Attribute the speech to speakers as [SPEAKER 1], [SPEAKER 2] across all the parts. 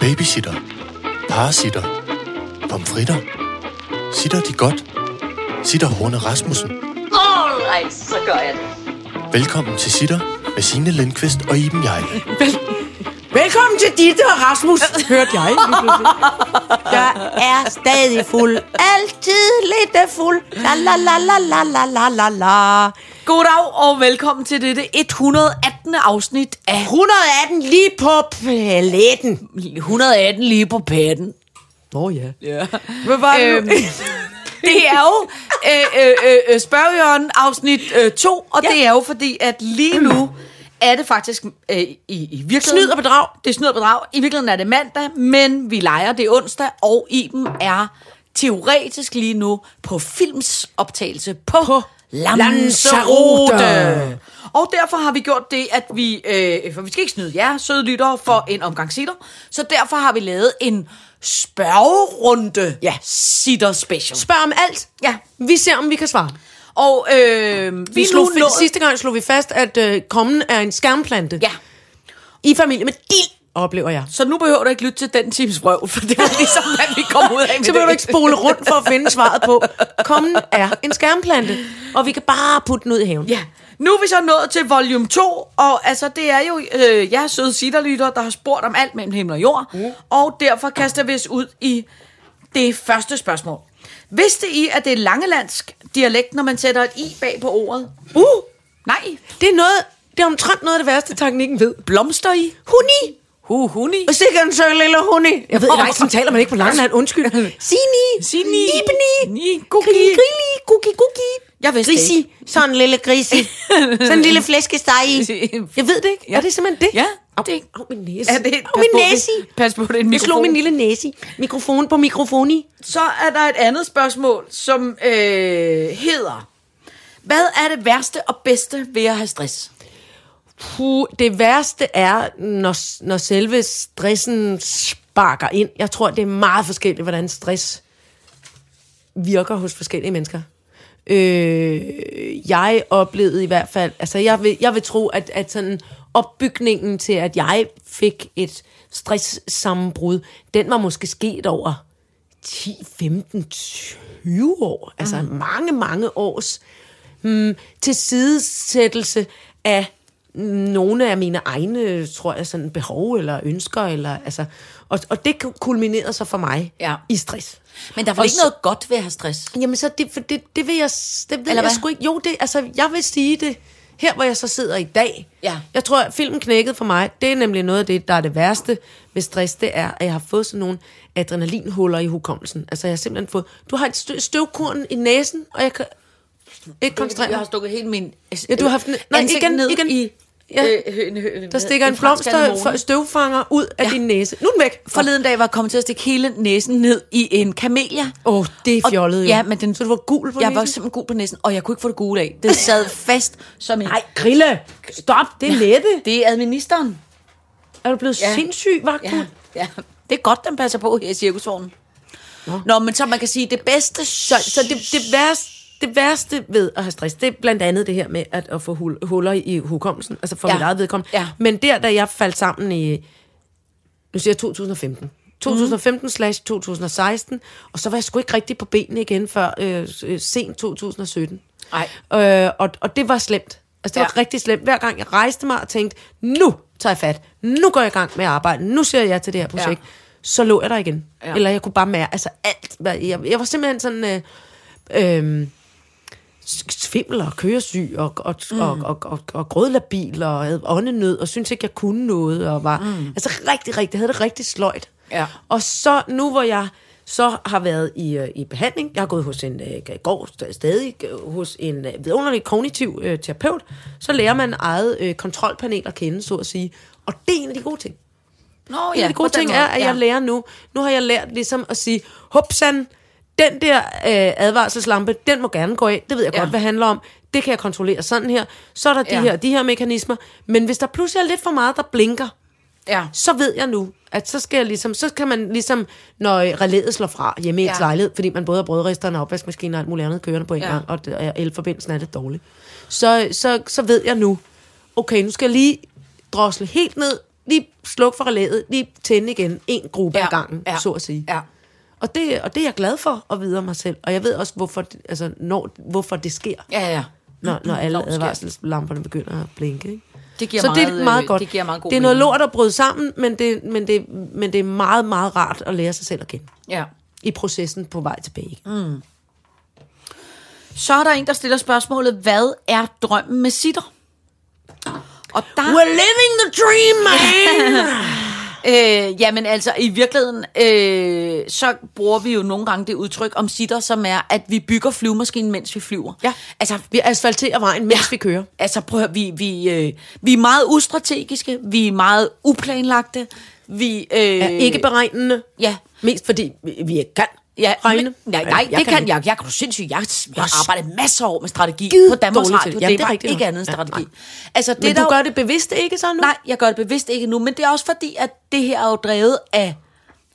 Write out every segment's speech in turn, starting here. [SPEAKER 1] Babysitter. Parasitter. Pomfritter. Sitter de godt? Sitter Horne Rasmussen.
[SPEAKER 2] Alright, så gør jeg det.
[SPEAKER 1] Velkommen til Sitter med Signe Lindqvist og Iben Jejle.
[SPEAKER 3] Velkommen til Ditte og Rasmus, hørte jeg. lige pludselig. Jeg er stadig fuld. Altid lidt af fuld. La la la la la la la la la.
[SPEAKER 4] Goddag og velkommen til dette 118. afsnit af
[SPEAKER 3] 118 lige på paletten.
[SPEAKER 4] 118 lige på patten.
[SPEAKER 3] Nå ja. ja. Hvad var det
[SPEAKER 4] Øhm,
[SPEAKER 3] nu?
[SPEAKER 4] det er jo øh, øh, øh, øh, spørgjørn afsnit 2, øh, to, og ja. det er jo fordi, at lige nu er det faktisk øh, i, i virkeligheden...
[SPEAKER 3] Snyd og bedrag.
[SPEAKER 4] Det er snyd og bedrag. I virkeligheden er det mandag, men vi leger det er onsdag, og Iben er teoretisk lige nu på filmsoptagelse på, på
[SPEAKER 3] Lanzarote.
[SPEAKER 4] Lanzarote. Og derfor har vi gjort det, at vi... Øh, for vi skal ikke snyde jer, søde lyttere, for en omgang sitter. Så derfor har vi lavet en spørgerunde
[SPEAKER 3] Ja.
[SPEAKER 4] sitter special.
[SPEAKER 3] Spørg om alt.
[SPEAKER 4] Ja.
[SPEAKER 3] Vi ser, om vi kan svare.
[SPEAKER 4] Og øh, vi,
[SPEAKER 3] Vi
[SPEAKER 4] vi
[SPEAKER 3] slog,
[SPEAKER 4] nu nået-
[SPEAKER 3] sidste gang slog vi fast, at øh, kommen er en skærmplante.
[SPEAKER 4] Ja.
[SPEAKER 3] I familie med dild, oplever jeg.
[SPEAKER 4] Så nu behøver du ikke lytte til den times vrøv, for det var ligesom, hvad vi kom ud af med
[SPEAKER 3] Så behøver du
[SPEAKER 4] det.
[SPEAKER 3] ikke spole rundt for at finde svaret på. Kommen er en skærmplante, og vi kan bare putte den ud i haven.
[SPEAKER 4] Ja, nu er vi så nået til volume 2, og altså, det er jo øh, jer søde sitterlytter, der har spurgt om alt mellem himmel og jord, mm. og derfor kaster vi os ud i det første spørgsmål. Vidste I, at det er langelandsk dialekt, når man sætter et i bag på ordet?
[SPEAKER 3] Uh,
[SPEAKER 4] Nej.
[SPEAKER 3] det er noget, det er omtrent noget af det værste, teknikken ved.
[SPEAKER 4] Blomster i? Uh,
[SPEAKER 3] Huni!
[SPEAKER 4] Hu, huni.
[SPEAKER 3] Og sikkert en søg lille huni. Jeg ved ikke, sådan taler man ikke på Langeland, undskyld. Sini!
[SPEAKER 4] Sini.
[SPEAKER 3] Ibni!
[SPEAKER 4] Ni. Kuki.
[SPEAKER 3] Grilli, grilli, kuki, kuki.
[SPEAKER 4] Jeg vidste det
[SPEAKER 3] Grisi. Sådan en lille grisi. Sådan en lille flæskesteg i. Jeg ved det ikke.
[SPEAKER 4] Ja.
[SPEAKER 3] Er det simpelthen det?
[SPEAKER 4] Ja,
[SPEAKER 3] Au,
[SPEAKER 4] det-
[SPEAKER 3] au, min næse.
[SPEAKER 4] Er det,
[SPEAKER 3] au, min næse.
[SPEAKER 4] Pas på, det er en
[SPEAKER 3] Jeg slog
[SPEAKER 4] mikrofon.
[SPEAKER 3] min lille næse. i. Mikrofon på mikrofoni.
[SPEAKER 4] Så er der et andet spørgsmål, som øh, hedder, hvad er det værste og bedste ved at have stress?
[SPEAKER 3] Puh, det værste er, når, når selve stressen sparker ind. Jeg tror, det er meget forskelligt, hvordan stress virker hos forskellige mennesker. Øh, jeg oplevede i hvert fald, altså jeg vil, jeg vil tro, at, at sådan opbygningen til, at jeg fik et stresssammenbrud, den var måske sket over 10, 15, 20 år. Altså mm. mange, mange års mm, tilsidesættelse af nogle af mine egne, tror jeg, sådan behov eller ønsker. Eller, altså, og, og det kulminerede så for mig
[SPEAKER 4] Ja.
[SPEAKER 3] i stress.
[SPEAKER 4] Men der er
[SPEAKER 3] Og
[SPEAKER 4] vel ikke
[SPEAKER 3] så-
[SPEAKER 4] noget godt ved at have stress?
[SPEAKER 3] Jamen så det, for det, det vil jeg, s- det ved
[SPEAKER 4] Eller
[SPEAKER 3] Eller jeg
[SPEAKER 4] hvad?
[SPEAKER 3] sgu ikke. Jo, det, altså, jeg vil sige det her, hvor jeg så sidder i dag.
[SPEAKER 4] Ja.
[SPEAKER 3] Jeg tror, at filmen knækkede for mig. Det er nemlig noget af det, der er det værste ved stress, det er, at jeg har fået sådan nogle adrenalinhuller i hukommelsen. Altså, jeg har simpelthen fået... Du har et stø- støvkorn i næsen, og jeg kan ikke koncentrere
[SPEAKER 4] Jeg har
[SPEAKER 3] mig.
[SPEAKER 4] stukket helt min...
[SPEAKER 3] Ja, du har haft... en- Nej,
[SPEAKER 4] ansigt
[SPEAKER 3] igen,
[SPEAKER 4] ned
[SPEAKER 3] igen.
[SPEAKER 4] I,
[SPEAKER 3] Ja.
[SPEAKER 4] øh,
[SPEAKER 3] Der stikker en, en
[SPEAKER 4] fransk
[SPEAKER 3] blomster
[SPEAKER 4] anemone.
[SPEAKER 3] støvfanger ud af ja. din næse. Nu er den væk.
[SPEAKER 4] Forleden dag var jeg kommet til at stikke hele næsen ned i en kamelia.
[SPEAKER 3] Åh, det er
[SPEAKER 4] Og-
[SPEAKER 3] fjollet jo.
[SPEAKER 4] Ja, men den,
[SPEAKER 3] Så du var gul på
[SPEAKER 4] Jeg var
[SPEAKER 3] næsen?
[SPEAKER 4] simpelthen gul på næsen, og jeg kunne ikke få det gule af. Den sad fast som en...
[SPEAKER 3] Nej, Grille! Stop, det er lette.
[SPEAKER 4] Det er administeren.
[SPEAKER 3] Er du blevet
[SPEAKER 4] Ja.
[SPEAKER 3] sindssyg, vagthund?
[SPEAKER 4] Ja, ja. Det er godt, den passer på her i cirkusvognen. Nå. Nå, men så man kan sige, det bedste...
[SPEAKER 3] Så, så det, det, værste, det værste ved at have stress, det er blandt andet det her med at, at få hul, huller i hukommelsen, altså for
[SPEAKER 4] Ja.
[SPEAKER 3] ja. mit eget vedkommende.
[SPEAKER 4] Ja.
[SPEAKER 3] Men der, da jeg faldt sammen i, nu siger jeg 2015,
[SPEAKER 4] Mhm.
[SPEAKER 3] 2015 slash 2016, og så var jeg sgu ikke rigtig på benene igen før øh, øh, sent 2017.
[SPEAKER 4] Nej.
[SPEAKER 3] Øh, og, og det var slemt. Altså, det ja. var
[SPEAKER 4] Ja.
[SPEAKER 3] rigtig slemt. Hver gang jeg rejste mig og tænkte, nu tager jeg fat, nu går jeg i gang med at arbejde, nu siger jeg ja til det her projekt,
[SPEAKER 4] Ja.
[SPEAKER 3] ja. så lå jeg der igen.
[SPEAKER 4] Ja.
[SPEAKER 3] Ja. Eller jeg kunne bare mærke, altså alt, hvad, jeg, jeg var simpelthen sådan... Øh, øhm, s- svimmel og køresyg og, og, mm. og, og, og, og grødlabil og havde åndenød og syntes ikke, jeg kunne noget og var mm. altså rigtig, rigtig, havde det rigtig sløjt.
[SPEAKER 4] Ja.
[SPEAKER 3] Og så nu, hvor jeg så har været i, øh, i behandling, jeg har gået hos en, øh, går st- stadig øh, hos en øh, vidunderlig kognitiv øh, terapeut, så lærer man eget øh, kontrolpanel at kende, så at sige. Og det er en af de gode ting.
[SPEAKER 4] Nå,
[SPEAKER 3] En af de gode
[SPEAKER 4] på den
[SPEAKER 3] ting
[SPEAKER 4] måde,
[SPEAKER 3] er, at
[SPEAKER 4] ja.
[SPEAKER 3] jeg lærer nu. Nu har jeg lært ligesom at sige, hopsan, den der øh, advarselslampe, den må gerne gå af. Det ved jeg
[SPEAKER 4] Ja.
[SPEAKER 3] ja. godt, hvad det handler om. Det kan jeg kontrollere sådan her. Så er der de
[SPEAKER 4] Ja.
[SPEAKER 3] her de her mekanismer. Men hvis der pludselig er lidt for meget, der blinker,
[SPEAKER 4] Ja.
[SPEAKER 3] så ved jeg nu, at så skal jeg ligesom, så kan man ligesom, når øh, relæet slår fra hjemme i ja.
[SPEAKER 4] Ja.
[SPEAKER 3] ens lejlighed, fordi man både har brødristerne og opvaskemaskinen og alt muligt andet kørende på en
[SPEAKER 4] Ja.
[SPEAKER 3] ja. gang, og det- og elforbindelsen er lidt dårlig. Så, så, så ved jeg nu, okay, nu skal jeg lige drosle helt ned, lige sluk for relæet, lige tænde igen, en gruppe ja, ad gangen, ja, så at sige.
[SPEAKER 4] Ja.
[SPEAKER 3] Og det, og det er jeg glad for at vide om mig selv. Og jeg ved også, hvorfor, det- altså, når, hvorfor det sker,
[SPEAKER 4] Ja, ja.
[SPEAKER 3] når, når
[SPEAKER 4] Når
[SPEAKER 3] alle
[SPEAKER 4] det sker.
[SPEAKER 3] advarselslamperne begynder at blinke. Ikke?
[SPEAKER 4] Det giver
[SPEAKER 3] så
[SPEAKER 4] meget,
[SPEAKER 3] det er meget
[SPEAKER 4] øh,
[SPEAKER 3] godt.
[SPEAKER 4] det giver meget god
[SPEAKER 3] det er noget
[SPEAKER 4] mening.
[SPEAKER 3] lort at bryde sammen, men det, men, det, men det er meget, meget rart at lære sig selv at kende
[SPEAKER 4] Ja.
[SPEAKER 3] i processen på vej tilbage.
[SPEAKER 4] Ah.
[SPEAKER 3] Mm.
[SPEAKER 4] Så er der en, der stiller spørgsmålet, hvad er drømmen med sitter? Og der...
[SPEAKER 3] We're living the dream, man!
[SPEAKER 4] Øh, jamen altså, i virkeligheden, øh, så bruger vi jo nogle gange det udtryk om sitter, som er, at vi bygger flyvemaskinen, mens vi flyver.
[SPEAKER 3] ja, altså, vi asfalterer vejen, mens ja. vi kører.
[SPEAKER 4] Altså, prøv at høre, vi, vi, øh, vi er meget ustrategiske, vi er meget uplanlagte, vi... Øh,
[SPEAKER 3] Er ikke beregnende.
[SPEAKER 4] Ja.
[SPEAKER 3] Mest fordi vi vi ikke kan
[SPEAKER 4] Ja,
[SPEAKER 3] regne.
[SPEAKER 4] men, nej, nej, jeg det kan, jeg. Jeg kan du sindssygt. Jeg, jeg har arbejdet masser af år med strategi
[SPEAKER 3] Skide
[SPEAKER 4] på Danmarks
[SPEAKER 3] dårlig
[SPEAKER 4] Radio.
[SPEAKER 3] til det. Jamen,
[SPEAKER 4] Det, ja, det
[SPEAKER 3] det er
[SPEAKER 4] var
[SPEAKER 3] rigtigt
[SPEAKER 4] ikke
[SPEAKER 3] nok.
[SPEAKER 4] andet end
[SPEAKER 3] Ja, nej.
[SPEAKER 4] strategi. Altså, det
[SPEAKER 3] Men
[SPEAKER 4] der
[SPEAKER 3] du
[SPEAKER 4] jo-
[SPEAKER 3] gør det bevidst ikke så nu?
[SPEAKER 4] Nej, jeg gør det bevidst ikke nu, men det er også fordi, at det her er jo drevet af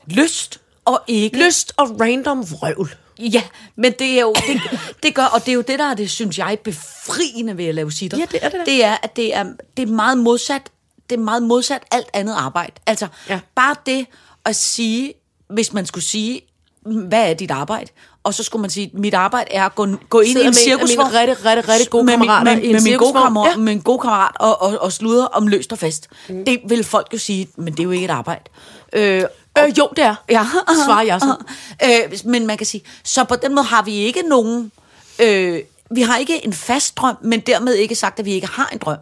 [SPEAKER 4] lyst og ikke...
[SPEAKER 3] Lyst og random vrøvl.
[SPEAKER 4] Ja, men det er jo det, det gør, og det er jo det der er det synes jeg befriende ved at lave sitter.
[SPEAKER 3] Ja, det er det da.
[SPEAKER 4] Det er at det er det er meget modsat det er meget modsat alt andet arbejde. Altså ja.
[SPEAKER 3] Ja.
[SPEAKER 4] bare det at sige, hvis man skulle sige, hvad er dit arbejde? Og så skulle man sige, mit arbejde er at gå, gå ind i
[SPEAKER 3] Sidder med
[SPEAKER 4] en
[SPEAKER 3] en af mine
[SPEAKER 4] cirkusvogn.
[SPEAKER 3] rigtig, rigtig, rigtig gode
[SPEAKER 4] med min-
[SPEAKER 3] kammerater
[SPEAKER 4] Med,
[SPEAKER 3] i en
[SPEAKER 4] med, min gode
[SPEAKER 3] cirkusvogn."
[SPEAKER 4] kammerat,
[SPEAKER 3] Ja.
[SPEAKER 4] med en god kammerat og, og, og sludre om løst og fast. Mm. Det vil folk jo sige, men det er jo ikke et arbejde. Øh,
[SPEAKER 3] Øh, jo, det er.
[SPEAKER 4] Ja,
[SPEAKER 3] Svarer jeg så.
[SPEAKER 4] Øh, men man kan sige, så på den måde har vi ikke nogen... Øh, vi har ikke en fast drøm, men dermed ikke sagt, at vi ikke har en drøm.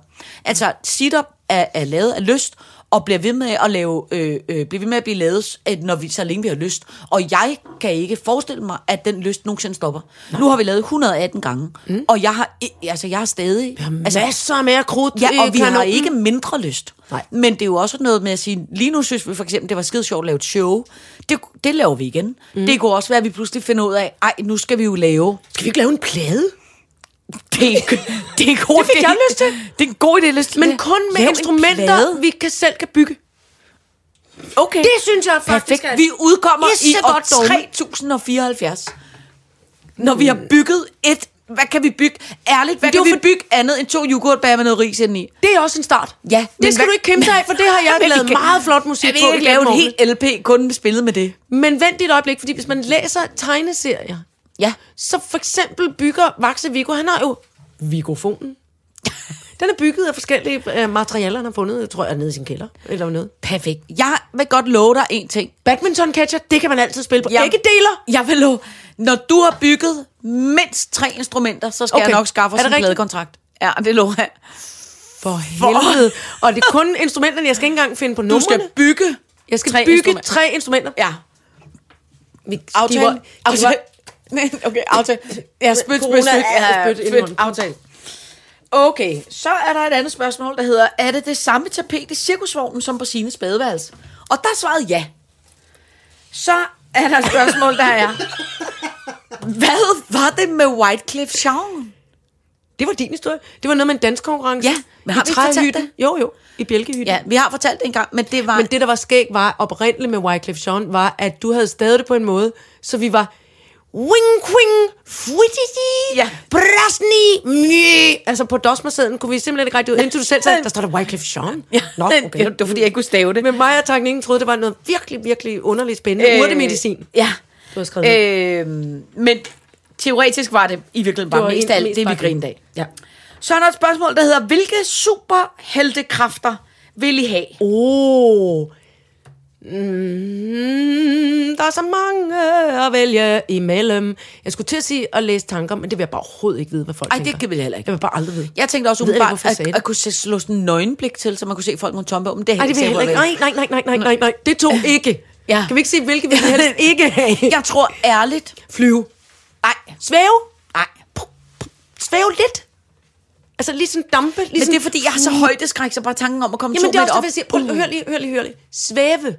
[SPEAKER 4] Altså, sit-up er, er lavet af lyst, og bliver ved med at lave, øh, øh, bliver ved med at blive lavet, at når vi, så længe vi har lyst. Og jeg kan ikke forestille mig, at den lyst nogensinde stopper. Nej. Nu har vi lavet 118 gange, mm. og jeg har, i- altså, jeg har stadig...
[SPEAKER 3] Altså, masser mere krudt øh, i
[SPEAKER 4] Ja, og vi har
[SPEAKER 3] kanonen.
[SPEAKER 4] ikke mindre lyst.
[SPEAKER 3] Nej.
[SPEAKER 4] Men det er jo også noget med at sige, lige nu synes vi for eksempel, det var skide sjovt at lave et show. Det, det laver vi igen. Mm. Det kunne også være, at vi pludselig finder ud af, ej, nu skal vi jo lave.
[SPEAKER 3] Skal vi ikke lave en plade?
[SPEAKER 4] Det, er- det er en god
[SPEAKER 3] Det fik
[SPEAKER 4] idé.
[SPEAKER 3] jeg lyst til.
[SPEAKER 4] Det er en god idé, lyst til.
[SPEAKER 3] Men
[SPEAKER 4] det.
[SPEAKER 3] kun med
[SPEAKER 4] Lav en plade.
[SPEAKER 3] instrumenter, vi kan, selv kan bygge.
[SPEAKER 4] Okay.
[SPEAKER 3] Det synes jeg faktisk
[SPEAKER 4] Perfekt. Vi udkommer
[SPEAKER 3] Yes,
[SPEAKER 4] i
[SPEAKER 3] så
[SPEAKER 4] år
[SPEAKER 3] godt dog.
[SPEAKER 4] 3074. Når vi har bygget et... Hvad kan vi bygge? Ærligt, hvad
[SPEAKER 3] det
[SPEAKER 4] kan
[SPEAKER 3] er
[SPEAKER 4] vi
[SPEAKER 3] jo for-
[SPEAKER 4] bygge andet end to yoghurtbær med noget ris indeni?
[SPEAKER 3] Det er også en start.
[SPEAKER 4] Ja, men
[SPEAKER 3] det skal
[SPEAKER 4] hvad-
[SPEAKER 3] du ikke kæmpe dig af, for det har jeg
[SPEAKER 4] Men vi
[SPEAKER 3] lavet
[SPEAKER 4] kan-
[SPEAKER 3] meget flot musik
[SPEAKER 4] Jeg vil
[SPEAKER 3] på
[SPEAKER 4] ikke lave en hel LP kun spillet med det.
[SPEAKER 3] Men vent et øjeblik, fordi hvis man læser tegneserier,
[SPEAKER 4] Ja.
[SPEAKER 3] så for eksempel bygger Vaxe Viggo, han har jo Vigofonen. Den er bygget af forskellige øh, materialer, han har fundet, tror jeg, nede i sin kælder, eller noget.
[SPEAKER 4] Perfekt. Jeg vil godt love dig en ting.
[SPEAKER 3] Badminton catcher, det kan man altid spille på. Ja. Ikke deler.
[SPEAKER 4] Jeg vil love, når du har bygget mindst tre instrumenter, så skal okay.
[SPEAKER 3] Okay.
[SPEAKER 4] jeg nok skaffe os
[SPEAKER 3] Er det
[SPEAKER 4] en
[SPEAKER 3] rigtigt?
[SPEAKER 4] pladekontrakt. Ja, det lover jeg.
[SPEAKER 3] For helvede. Og det er kun instrumenterne, jeg skal ikke engang finde på
[SPEAKER 4] Du
[SPEAKER 3] numrene.
[SPEAKER 4] skal bygge
[SPEAKER 3] jeg skal
[SPEAKER 4] tre
[SPEAKER 3] bygge
[SPEAKER 4] instrumenter.
[SPEAKER 3] tre instrumenter.
[SPEAKER 4] Ja.
[SPEAKER 3] Vi
[SPEAKER 4] Aftale.
[SPEAKER 3] giver-
[SPEAKER 4] Aftale. Nej, Okay, aftale. Ja, spyt, spyt,
[SPEAKER 3] Corona
[SPEAKER 4] spyt.
[SPEAKER 3] er-
[SPEAKER 4] Ja,
[SPEAKER 3] spyt ind i
[SPEAKER 4] spyt,
[SPEAKER 3] munden.
[SPEAKER 4] aftale. Okay, så er der et andet spørgsmål, der hedder, er det det samme tapet i cirkusvognen som på sine badeværelse? Og der svarede ja. Så er der et spørgsmål, der er, hvad var det med Whitecliff Showen?
[SPEAKER 3] Det var din historie. Det var noget med en danskonkurrence.
[SPEAKER 4] Ja, men har
[SPEAKER 3] I
[SPEAKER 4] vi ikke fortalt
[SPEAKER 3] træhytten. Jo, jo. I bjælkehytten.
[SPEAKER 4] Ja, vi har fortalt det engang, men det var...
[SPEAKER 3] Men det, der var skæg var oprindeligt med Wyclef Jean, var, at du havde stadig det på en måde, så vi var wing quing fwittiti,
[SPEAKER 4] Ja.
[SPEAKER 3] ja. brasni, mjø. Altså på dosmersæden kunne vi simpelthen ikke rigtig ud, indtil du selv sagde, der står der Wyclef Jean.
[SPEAKER 4] Ja,
[SPEAKER 3] Nå, okay.
[SPEAKER 4] det var, fordi jeg ikke kunne stave det.
[SPEAKER 3] Men mig og teknikken troede, det var noget virkelig, virkelig underligt spændende. Øh, Urtemedicin.
[SPEAKER 4] Ja.
[SPEAKER 3] Du har skrevet ned.
[SPEAKER 4] øh, Men teoretisk var det i virkeligheden bare
[SPEAKER 3] var
[SPEAKER 4] mest
[SPEAKER 3] en-
[SPEAKER 4] af alt
[SPEAKER 3] mest
[SPEAKER 4] det, vi
[SPEAKER 3] bare
[SPEAKER 4] grinede
[SPEAKER 3] det.
[SPEAKER 4] af.
[SPEAKER 3] Ja.
[SPEAKER 4] Så er der et spørgsmål, der hedder, hvilke superheltekræfter vil I have?
[SPEAKER 3] Åh. Oh. Mm, der er så mange at vælge imellem. Jeg skulle til at sige at læse tanker, men det vil jeg bare overhovedet ikke vide, hvad folk
[SPEAKER 4] Ej, det
[SPEAKER 3] tænker.
[SPEAKER 4] kan vi heller ikke.
[SPEAKER 3] Jeg vil bare aldrig vide.
[SPEAKER 4] Jeg tænkte også
[SPEAKER 3] Ved jeg ikke,
[SPEAKER 4] umiddelbart,
[SPEAKER 3] hvorfor jeg
[SPEAKER 4] at,
[SPEAKER 3] sagde
[SPEAKER 4] at,
[SPEAKER 3] det?
[SPEAKER 4] kunne se, slå sådan en nøgenblik til, så man kunne se folk med tombe om. Det er
[SPEAKER 3] Nej, det vil jeg heller
[SPEAKER 4] sikkert,
[SPEAKER 3] ikke.
[SPEAKER 4] hvor
[SPEAKER 3] Nej, nej, nej, nej, nej, nej, nej. Det to ikke.
[SPEAKER 4] Ja.
[SPEAKER 3] Kan vi ikke sige, hvilke vi helst ikke have?
[SPEAKER 4] vil. Jeg tror ærligt...
[SPEAKER 3] Flyve.
[SPEAKER 4] Nej,
[SPEAKER 3] Svæve.
[SPEAKER 4] nej.
[SPEAKER 3] Svæve lidt. Altså lige sådan dampe. Lige
[SPEAKER 4] Men
[SPEAKER 3] sådan, Mm.
[SPEAKER 4] det er, fordi jeg har så højdeskræk, så bare tanken om at komme
[SPEAKER 3] Jamen
[SPEAKER 4] to
[SPEAKER 3] det er også
[SPEAKER 4] meter
[SPEAKER 3] det,
[SPEAKER 4] op.
[SPEAKER 3] jeg siger. Prøv, hør lige, hør lige, hør lige. Svæve.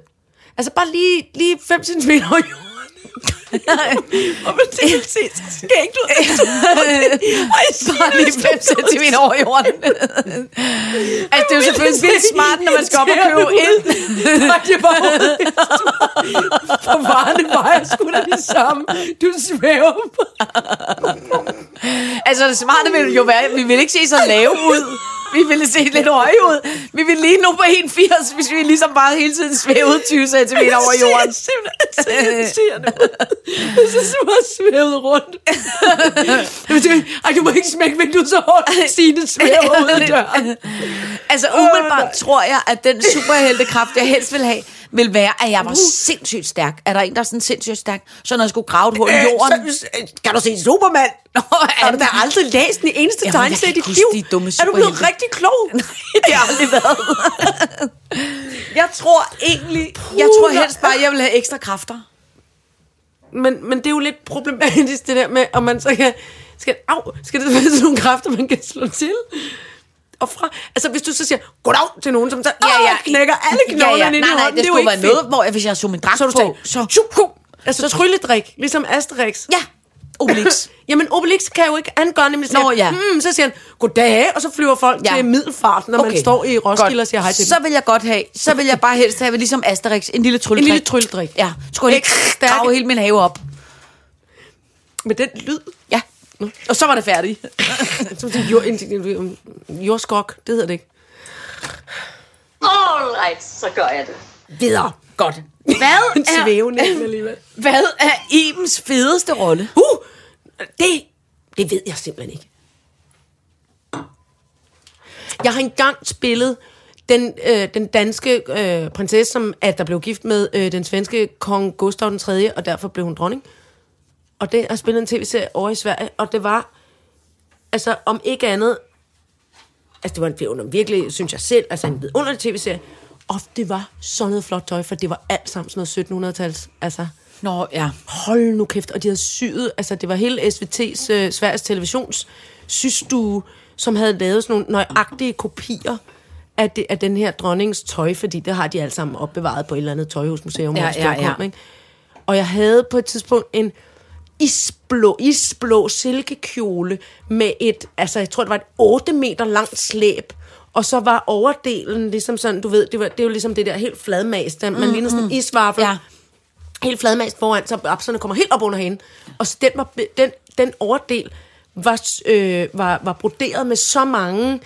[SPEAKER 3] Altså bare lige, lige 5 cm over jorden. Og man tænker, præcis, skal ikke du... Ej, så
[SPEAKER 4] bare lige 5 cm over jorden. altså, det er jo selvfølgelig vildt smart, når man skal op og købe ind.
[SPEAKER 3] Nej, det var For varerne vejer sgu da det samme. Du svæver
[SPEAKER 4] Altså, det smarte ville jo være, at vi ville ikke se så lave ud. Vi ville se lidt høje ud. Vi ville lige nu på 81, hvis vi ligesom bare hele tiden svævede 20 cm over jorden.
[SPEAKER 3] Jeg synes, du har svævet rundt. Ej, du må ikke smække vinduet så hårdt. Signe svæver ud af døren.
[SPEAKER 4] Altså umiddelbart tror jeg, at den superheltekraft, jeg helst vil have, vil være, at jeg var sindssygt stærk. Er der en, der er sådan sindssygt stærk? Så når jeg skulle grave et hul i jorden...
[SPEAKER 3] Kan du se Superman?
[SPEAKER 4] Øh, Nå,
[SPEAKER 3] Har du da aldrig læst den eneste
[SPEAKER 4] Jamen, jeg
[SPEAKER 3] tegneserie i
[SPEAKER 4] kan
[SPEAKER 3] dit
[SPEAKER 4] ikke
[SPEAKER 3] liv?
[SPEAKER 4] huske de dumme
[SPEAKER 3] er du blevet
[SPEAKER 4] superhelte.
[SPEAKER 3] rigtig klog?
[SPEAKER 4] Nej, det har aldrig været. jeg tror egentlig... Jeg tror helst bare, at jeg vil have ekstra kræfter.
[SPEAKER 3] Men, men det er jo lidt problematisk, det der med, om man så kan... Skal, au, skal det være sådan nogle kræfter, man kan slå til? Og fra, altså hvis du så siger, goddag til nogen, som så ja, ja. knækker alle knoglerne ja, ja. ind i
[SPEAKER 4] Nej, nej,
[SPEAKER 3] hånden,
[SPEAKER 4] det,
[SPEAKER 3] er jo
[SPEAKER 4] skulle
[SPEAKER 3] ikke
[SPEAKER 4] være
[SPEAKER 3] fedt.
[SPEAKER 4] noget, hvor jeg, hvis jeg så min dragt
[SPEAKER 3] Så du sagde,
[SPEAKER 4] på...
[SPEAKER 3] så, tjup, tjup. altså trylledrik, ligesom Asterix.
[SPEAKER 4] Ja, Obelix.
[SPEAKER 3] Jamen Obelix kan jo ikke angøre nemlig sådan,
[SPEAKER 4] Nå,
[SPEAKER 3] her,
[SPEAKER 4] ja.
[SPEAKER 3] hmm, så siger han, goddag, og så flyver folk
[SPEAKER 4] Ja.
[SPEAKER 3] ja. til middelfart, når okay. man står i Roskilde
[SPEAKER 4] Godt.
[SPEAKER 3] og siger hej til
[SPEAKER 4] Så
[SPEAKER 3] dem.
[SPEAKER 4] vil jeg godt have, så vil jeg bare helst have, ligesom Asterix, en lille trylledrik.
[SPEAKER 3] En lille trylledrik.
[SPEAKER 4] Ja, skulle jeg
[SPEAKER 3] Ekstra
[SPEAKER 4] lige grave
[SPEAKER 3] stærke.
[SPEAKER 4] hele min have op.
[SPEAKER 3] Med den lyd.
[SPEAKER 4] Ja. Og så var det færdigt.
[SPEAKER 3] Som sådan jord, en- en- jordskok, det hedder det ikke.
[SPEAKER 2] All right, så gør jeg det.
[SPEAKER 3] Videre. Godt.
[SPEAKER 4] Hvad
[SPEAKER 3] En svævende alligevel.
[SPEAKER 4] hvad er Ibens fedeste rolle?
[SPEAKER 3] Uh, det, det ved jeg simpelthen ikke. Jeg har engang spillet den, øh, den danske øh, prinsesse, som at der blev gift med øh, den svenske kong Gustav den 3., og derfor blev hun dronning. Og det har spillet en tv-serie over i Sverige, og det var, altså om ikke andet, altså det var en vidunderlig, virkelig, synes jeg selv, altså en vidunderlig tv-serie, og det var sådan noget flot tøj, for det var alt sammen sådan noget 1700-tals, altså
[SPEAKER 4] Nå, ja.
[SPEAKER 3] hold nu kæft, og de havde syet, altså det var hele SVT's, øh, Sveriges Televisions systue, som havde lavet sådan nogle nøjagtige kopier af, det, af den her dronningens tøj, fordi det har de alle sammen opbevaret på et eller andet tøjhusmuseum.
[SPEAKER 4] Ja,
[SPEAKER 3] hvor det står
[SPEAKER 4] ja, ja.
[SPEAKER 3] Kom, ikke? Og jeg havde på et tidspunkt en isblå, isblå silkekjole med et, altså jeg tror det var et 8 meter langt slæb, og så var overdelen ligesom sådan, du ved, det, var, det er jo ligesom det der helt fladmast, man mm, ligner sådan en isvaffel,
[SPEAKER 4] Ja.
[SPEAKER 3] helt fladmast foran, så abserne kommer helt op under hende. Og så den, var, den, den overdel var, øh, var, var broderet med så mange...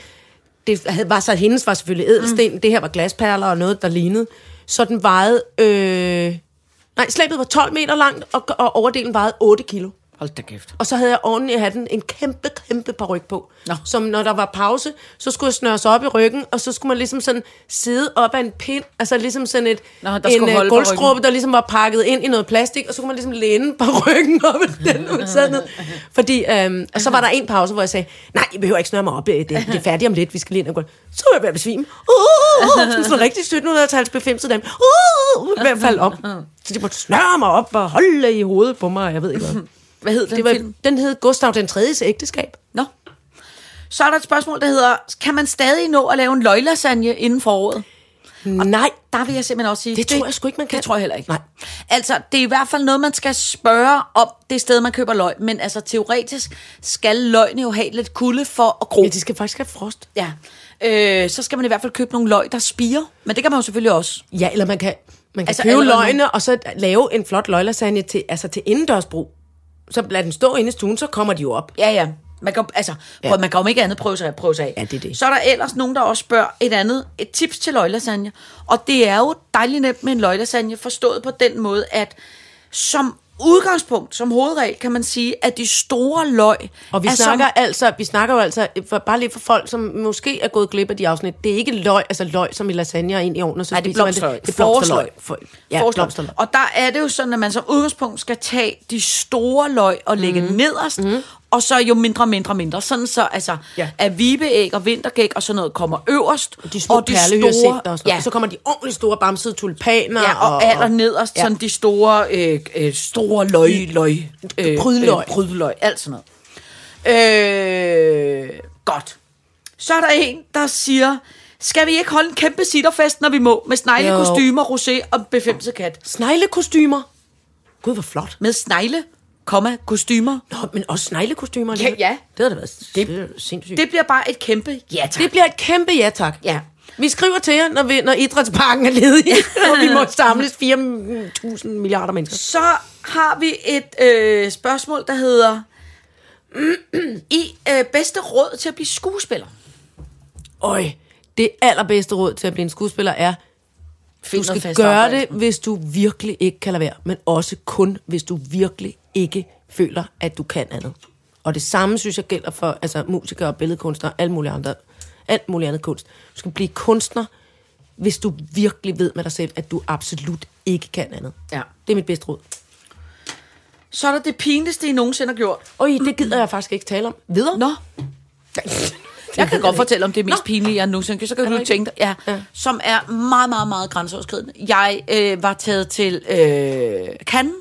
[SPEAKER 3] Det havde- var så hendes var selvfølgelig edelsten, mm. det her var glasperler og noget, der lignede. Så den vejede... Øh, nej, slæbet var 12 meter langt, og, og overdelen vejede 8 kilo.
[SPEAKER 4] Hold da kæft.
[SPEAKER 3] Og så havde jeg oven i hatten en kæmpe, kæmpe paryk på.
[SPEAKER 4] Nå.
[SPEAKER 3] Som når der var pause, så skulle jeg snøre sig op i ryggen, og så skulle man ligesom sådan sidde op af en pind, altså ligesom sådan et,
[SPEAKER 4] Nå, der skulle
[SPEAKER 3] en øh,
[SPEAKER 4] holde på
[SPEAKER 3] gulvskruppe,
[SPEAKER 4] ryggen.
[SPEAKER 3] der ligesom var pakket ind i noget plastik, og så kunne man ligesom læne parrykken op af den, når man sad ned. Fordi, øhm, og så var der en pause, hvor jeg sagde, nej, I behøver ikke snøre mig op, øh, det, det er færdigt om lidt, vi skal lige ind og gå. Så var jeg ved at besvime. Uh, uh, uh, sådan en rigtig 1700-tals befemset dame. Uh, uh, uh, ved at falde om. Så de måtte snøre mig op og holde i hovedet på mig, og jeg ved ikke hvad.
[SPEAKER 4] Hvad hed den
[SPEAKER 3] Det var,
[SPEAKER 4] film?
[SPEAKER 3] den hed Gustav den 3.s ægteskab.
[SPEAKER 4] Nå. Så er der et spørgsmål, der hedder, kan man stadig nå at lave en løglasagne inden foråret?
[SPEAKER 3] Nej,
[SPEAKER 4] Der vil jeg simpelthen også sige,
[SPEAKER 3] Det tror jeg sgu ikke, man kan.
[SPEAKER 4] Det tror jeg heller ikke.
[SPEAKER 3] Nej.
[SPEAKER 4] Altså, det er i hvert fald noget, man skal spørge om det sted, man køber løg. Men altså, teoretisk skal løgene jo have lidt kulde for at gro.
[SPEAKER 3] men de skal faktisk have frost.
[SPEAKER 4] Ja. Øh, så skal man i hvert fald købe nogle løg, der spiger. Men det kan man jo selvfølgelig også.
[SPEAKER 3] Ja, eller man kan, man kan
[SPEAKER 4] Altså
[SPEAKER 3] altså, købe
[SPEAKER 4] allerede nu.
[SPEAKER 3] løgne, og så lave en flot løglasagne til, altså til indendørsbrug. Så lad den stå inde i stuen, så kommer de jo op.
[SPEAKER 4] Ja, ja. Man kan, jo- altså, ja. man kan jo om ikke andet prøve sig, prøve sig af.
[SPEAKER 3] Ja, det er det.
[SPEAKER 4] Så er der ellers nogen, der også spørger et andet et tips til løglasagne. Og det er jo dejligt nemt med en løglasagne, forstået på den måde, at som udgangspunkt, som hovedregel, kan man sige, at de store løg...
[SPEAKER 3] Og vi,
[SPEAKER 4] er
[SPEAKER 3] snakker
[SPEAKER 4] som,
[SPEAKER 3] altså, vi snakker jo altså, for, bare lige for folk, som måske er gået glip af de afsnit, det er ikke løg, altså løg som i lasagne og ind i ovnen, og så
[SPEAKER 4] Nej, det er
[SPEAKER 3] spiser man
[SPEAKER 4] blomsterløg.
[SPEAKER 3] Det er blomsterløg.
[SPEAKER 4] Forårsløg.
[SPEAKER 3] For, ja,
[SPEAKER 4] Forslag.
[SPEAKER 3] blomsterløg.
[SPEAKER 4] Og der er det jo sådan, at man som udgangspunkt skal tage de store løg og lægge
[SPEAKER 3] Mhm.
[SPEAKER 4] mm. nederst, mm. og så jo mindre, mindre, mindre. Sådan så, altså, ja.
[SPEAKER 3] Ja.
[SPEAKER 4] at vibeæg og vintergæk og sådan noget kommer øverst.
[SPEAKER 3] De små perlehyacenter og sådan ja. Så kommer de ordentligt store bamsede tulpaner.
[SPEAKER 4] Ja, og, og aller nederst, ja. sådan de store, øh, øh, store løg, løg, øh,
[SPEAKER 3] Prydløg.
[SPEAKER 4] øh, prydløg, alt sådan noget. Øh, godt. Så er der en, der siger, skal vi ikke holde en kæmpe sitterfest, når vi må, med snegle,
[SPEAKER 3] Jo.
[SPEAKER 4] kostymer, rosé og befemset kat?
[SPEAKER 3] Sneglekostymer. Gud, hvor flot.
[SPEAKER 4] Med snegle, komma, kostymer.
[SPEAKER 3] Nå, men også sneglekostymer.
[SPEAKER 4] Ja, ja.
[SPEAKER 3] Det har da været det, sindssygt.
[SPEAKER 4] Det bliver bare et kæmpe ja tak.
[SPEAKER 3] det bliver et kæmpe ja tak.
[SPEAKER 4] Ja.
[SPEAKER 3] Vi skriver til jer, når, vi, når idrætsparken er ledig, og vi må samles 4.000 milliarder mennesker.
[SPEAKER 4] Så har vi et øh, spørgsmål, der hedder, I øh, bedste råd til at blive skuespiller?
[SPEAKER 3] øj, det allerbedste råd til at blive en skuespiller er,
[SPEAKER 4] Find
[SPEAKER 3] du
[SPEAKER 4] noget
[SPEAKER 3] skal
[SPEAKER 4] fast
[SPEAKER 3] gøre
[SPEAKER 4] arbejde.
[SPEAKER 3] det, hvis du virkelig ikke kan lade være, men også kun, hvis du virkelig ikke føler, at du kan andet. Og det samme, synes jeg, gælder for altså, musikere, billedkunstnere, alt muligt, andre, alt muligt andet kunst. Du skal blive kunstner, hvis du virkelig ved med dig selv, at du absolut ikke kan andet.
[SPEAKER 4] Ja.
[SPEAKER 3] Det er mit bedste råd.
[SPEAKER 4] Så er der det pinligste, I nogensinde har gjort.
[SPEAKER 3] Og det gider jeg faktisk ikke tale om. Videre?
[SPEAKER 4] Nå. Jeg kan
[SPEAKER 3] ved
[SPEAKER 4] godt
[SPEAKER 3] jeg
[SPEAKER 4] fortælle om det mest
[SPEAKER 3] Nå.
[SPEAKER 4] pinlige, jeg nogensinde gjorde. Så kan du
[SPEAKER 3] rigtigt?
[SPEAKER 4] tænke dig. Ja,
[SPEAKER 3] Ja.
[SPEAKER 4] ja. Som er meget, meget, meget grænseoverskridende. Jeg øh, var taget til øh, Cannes.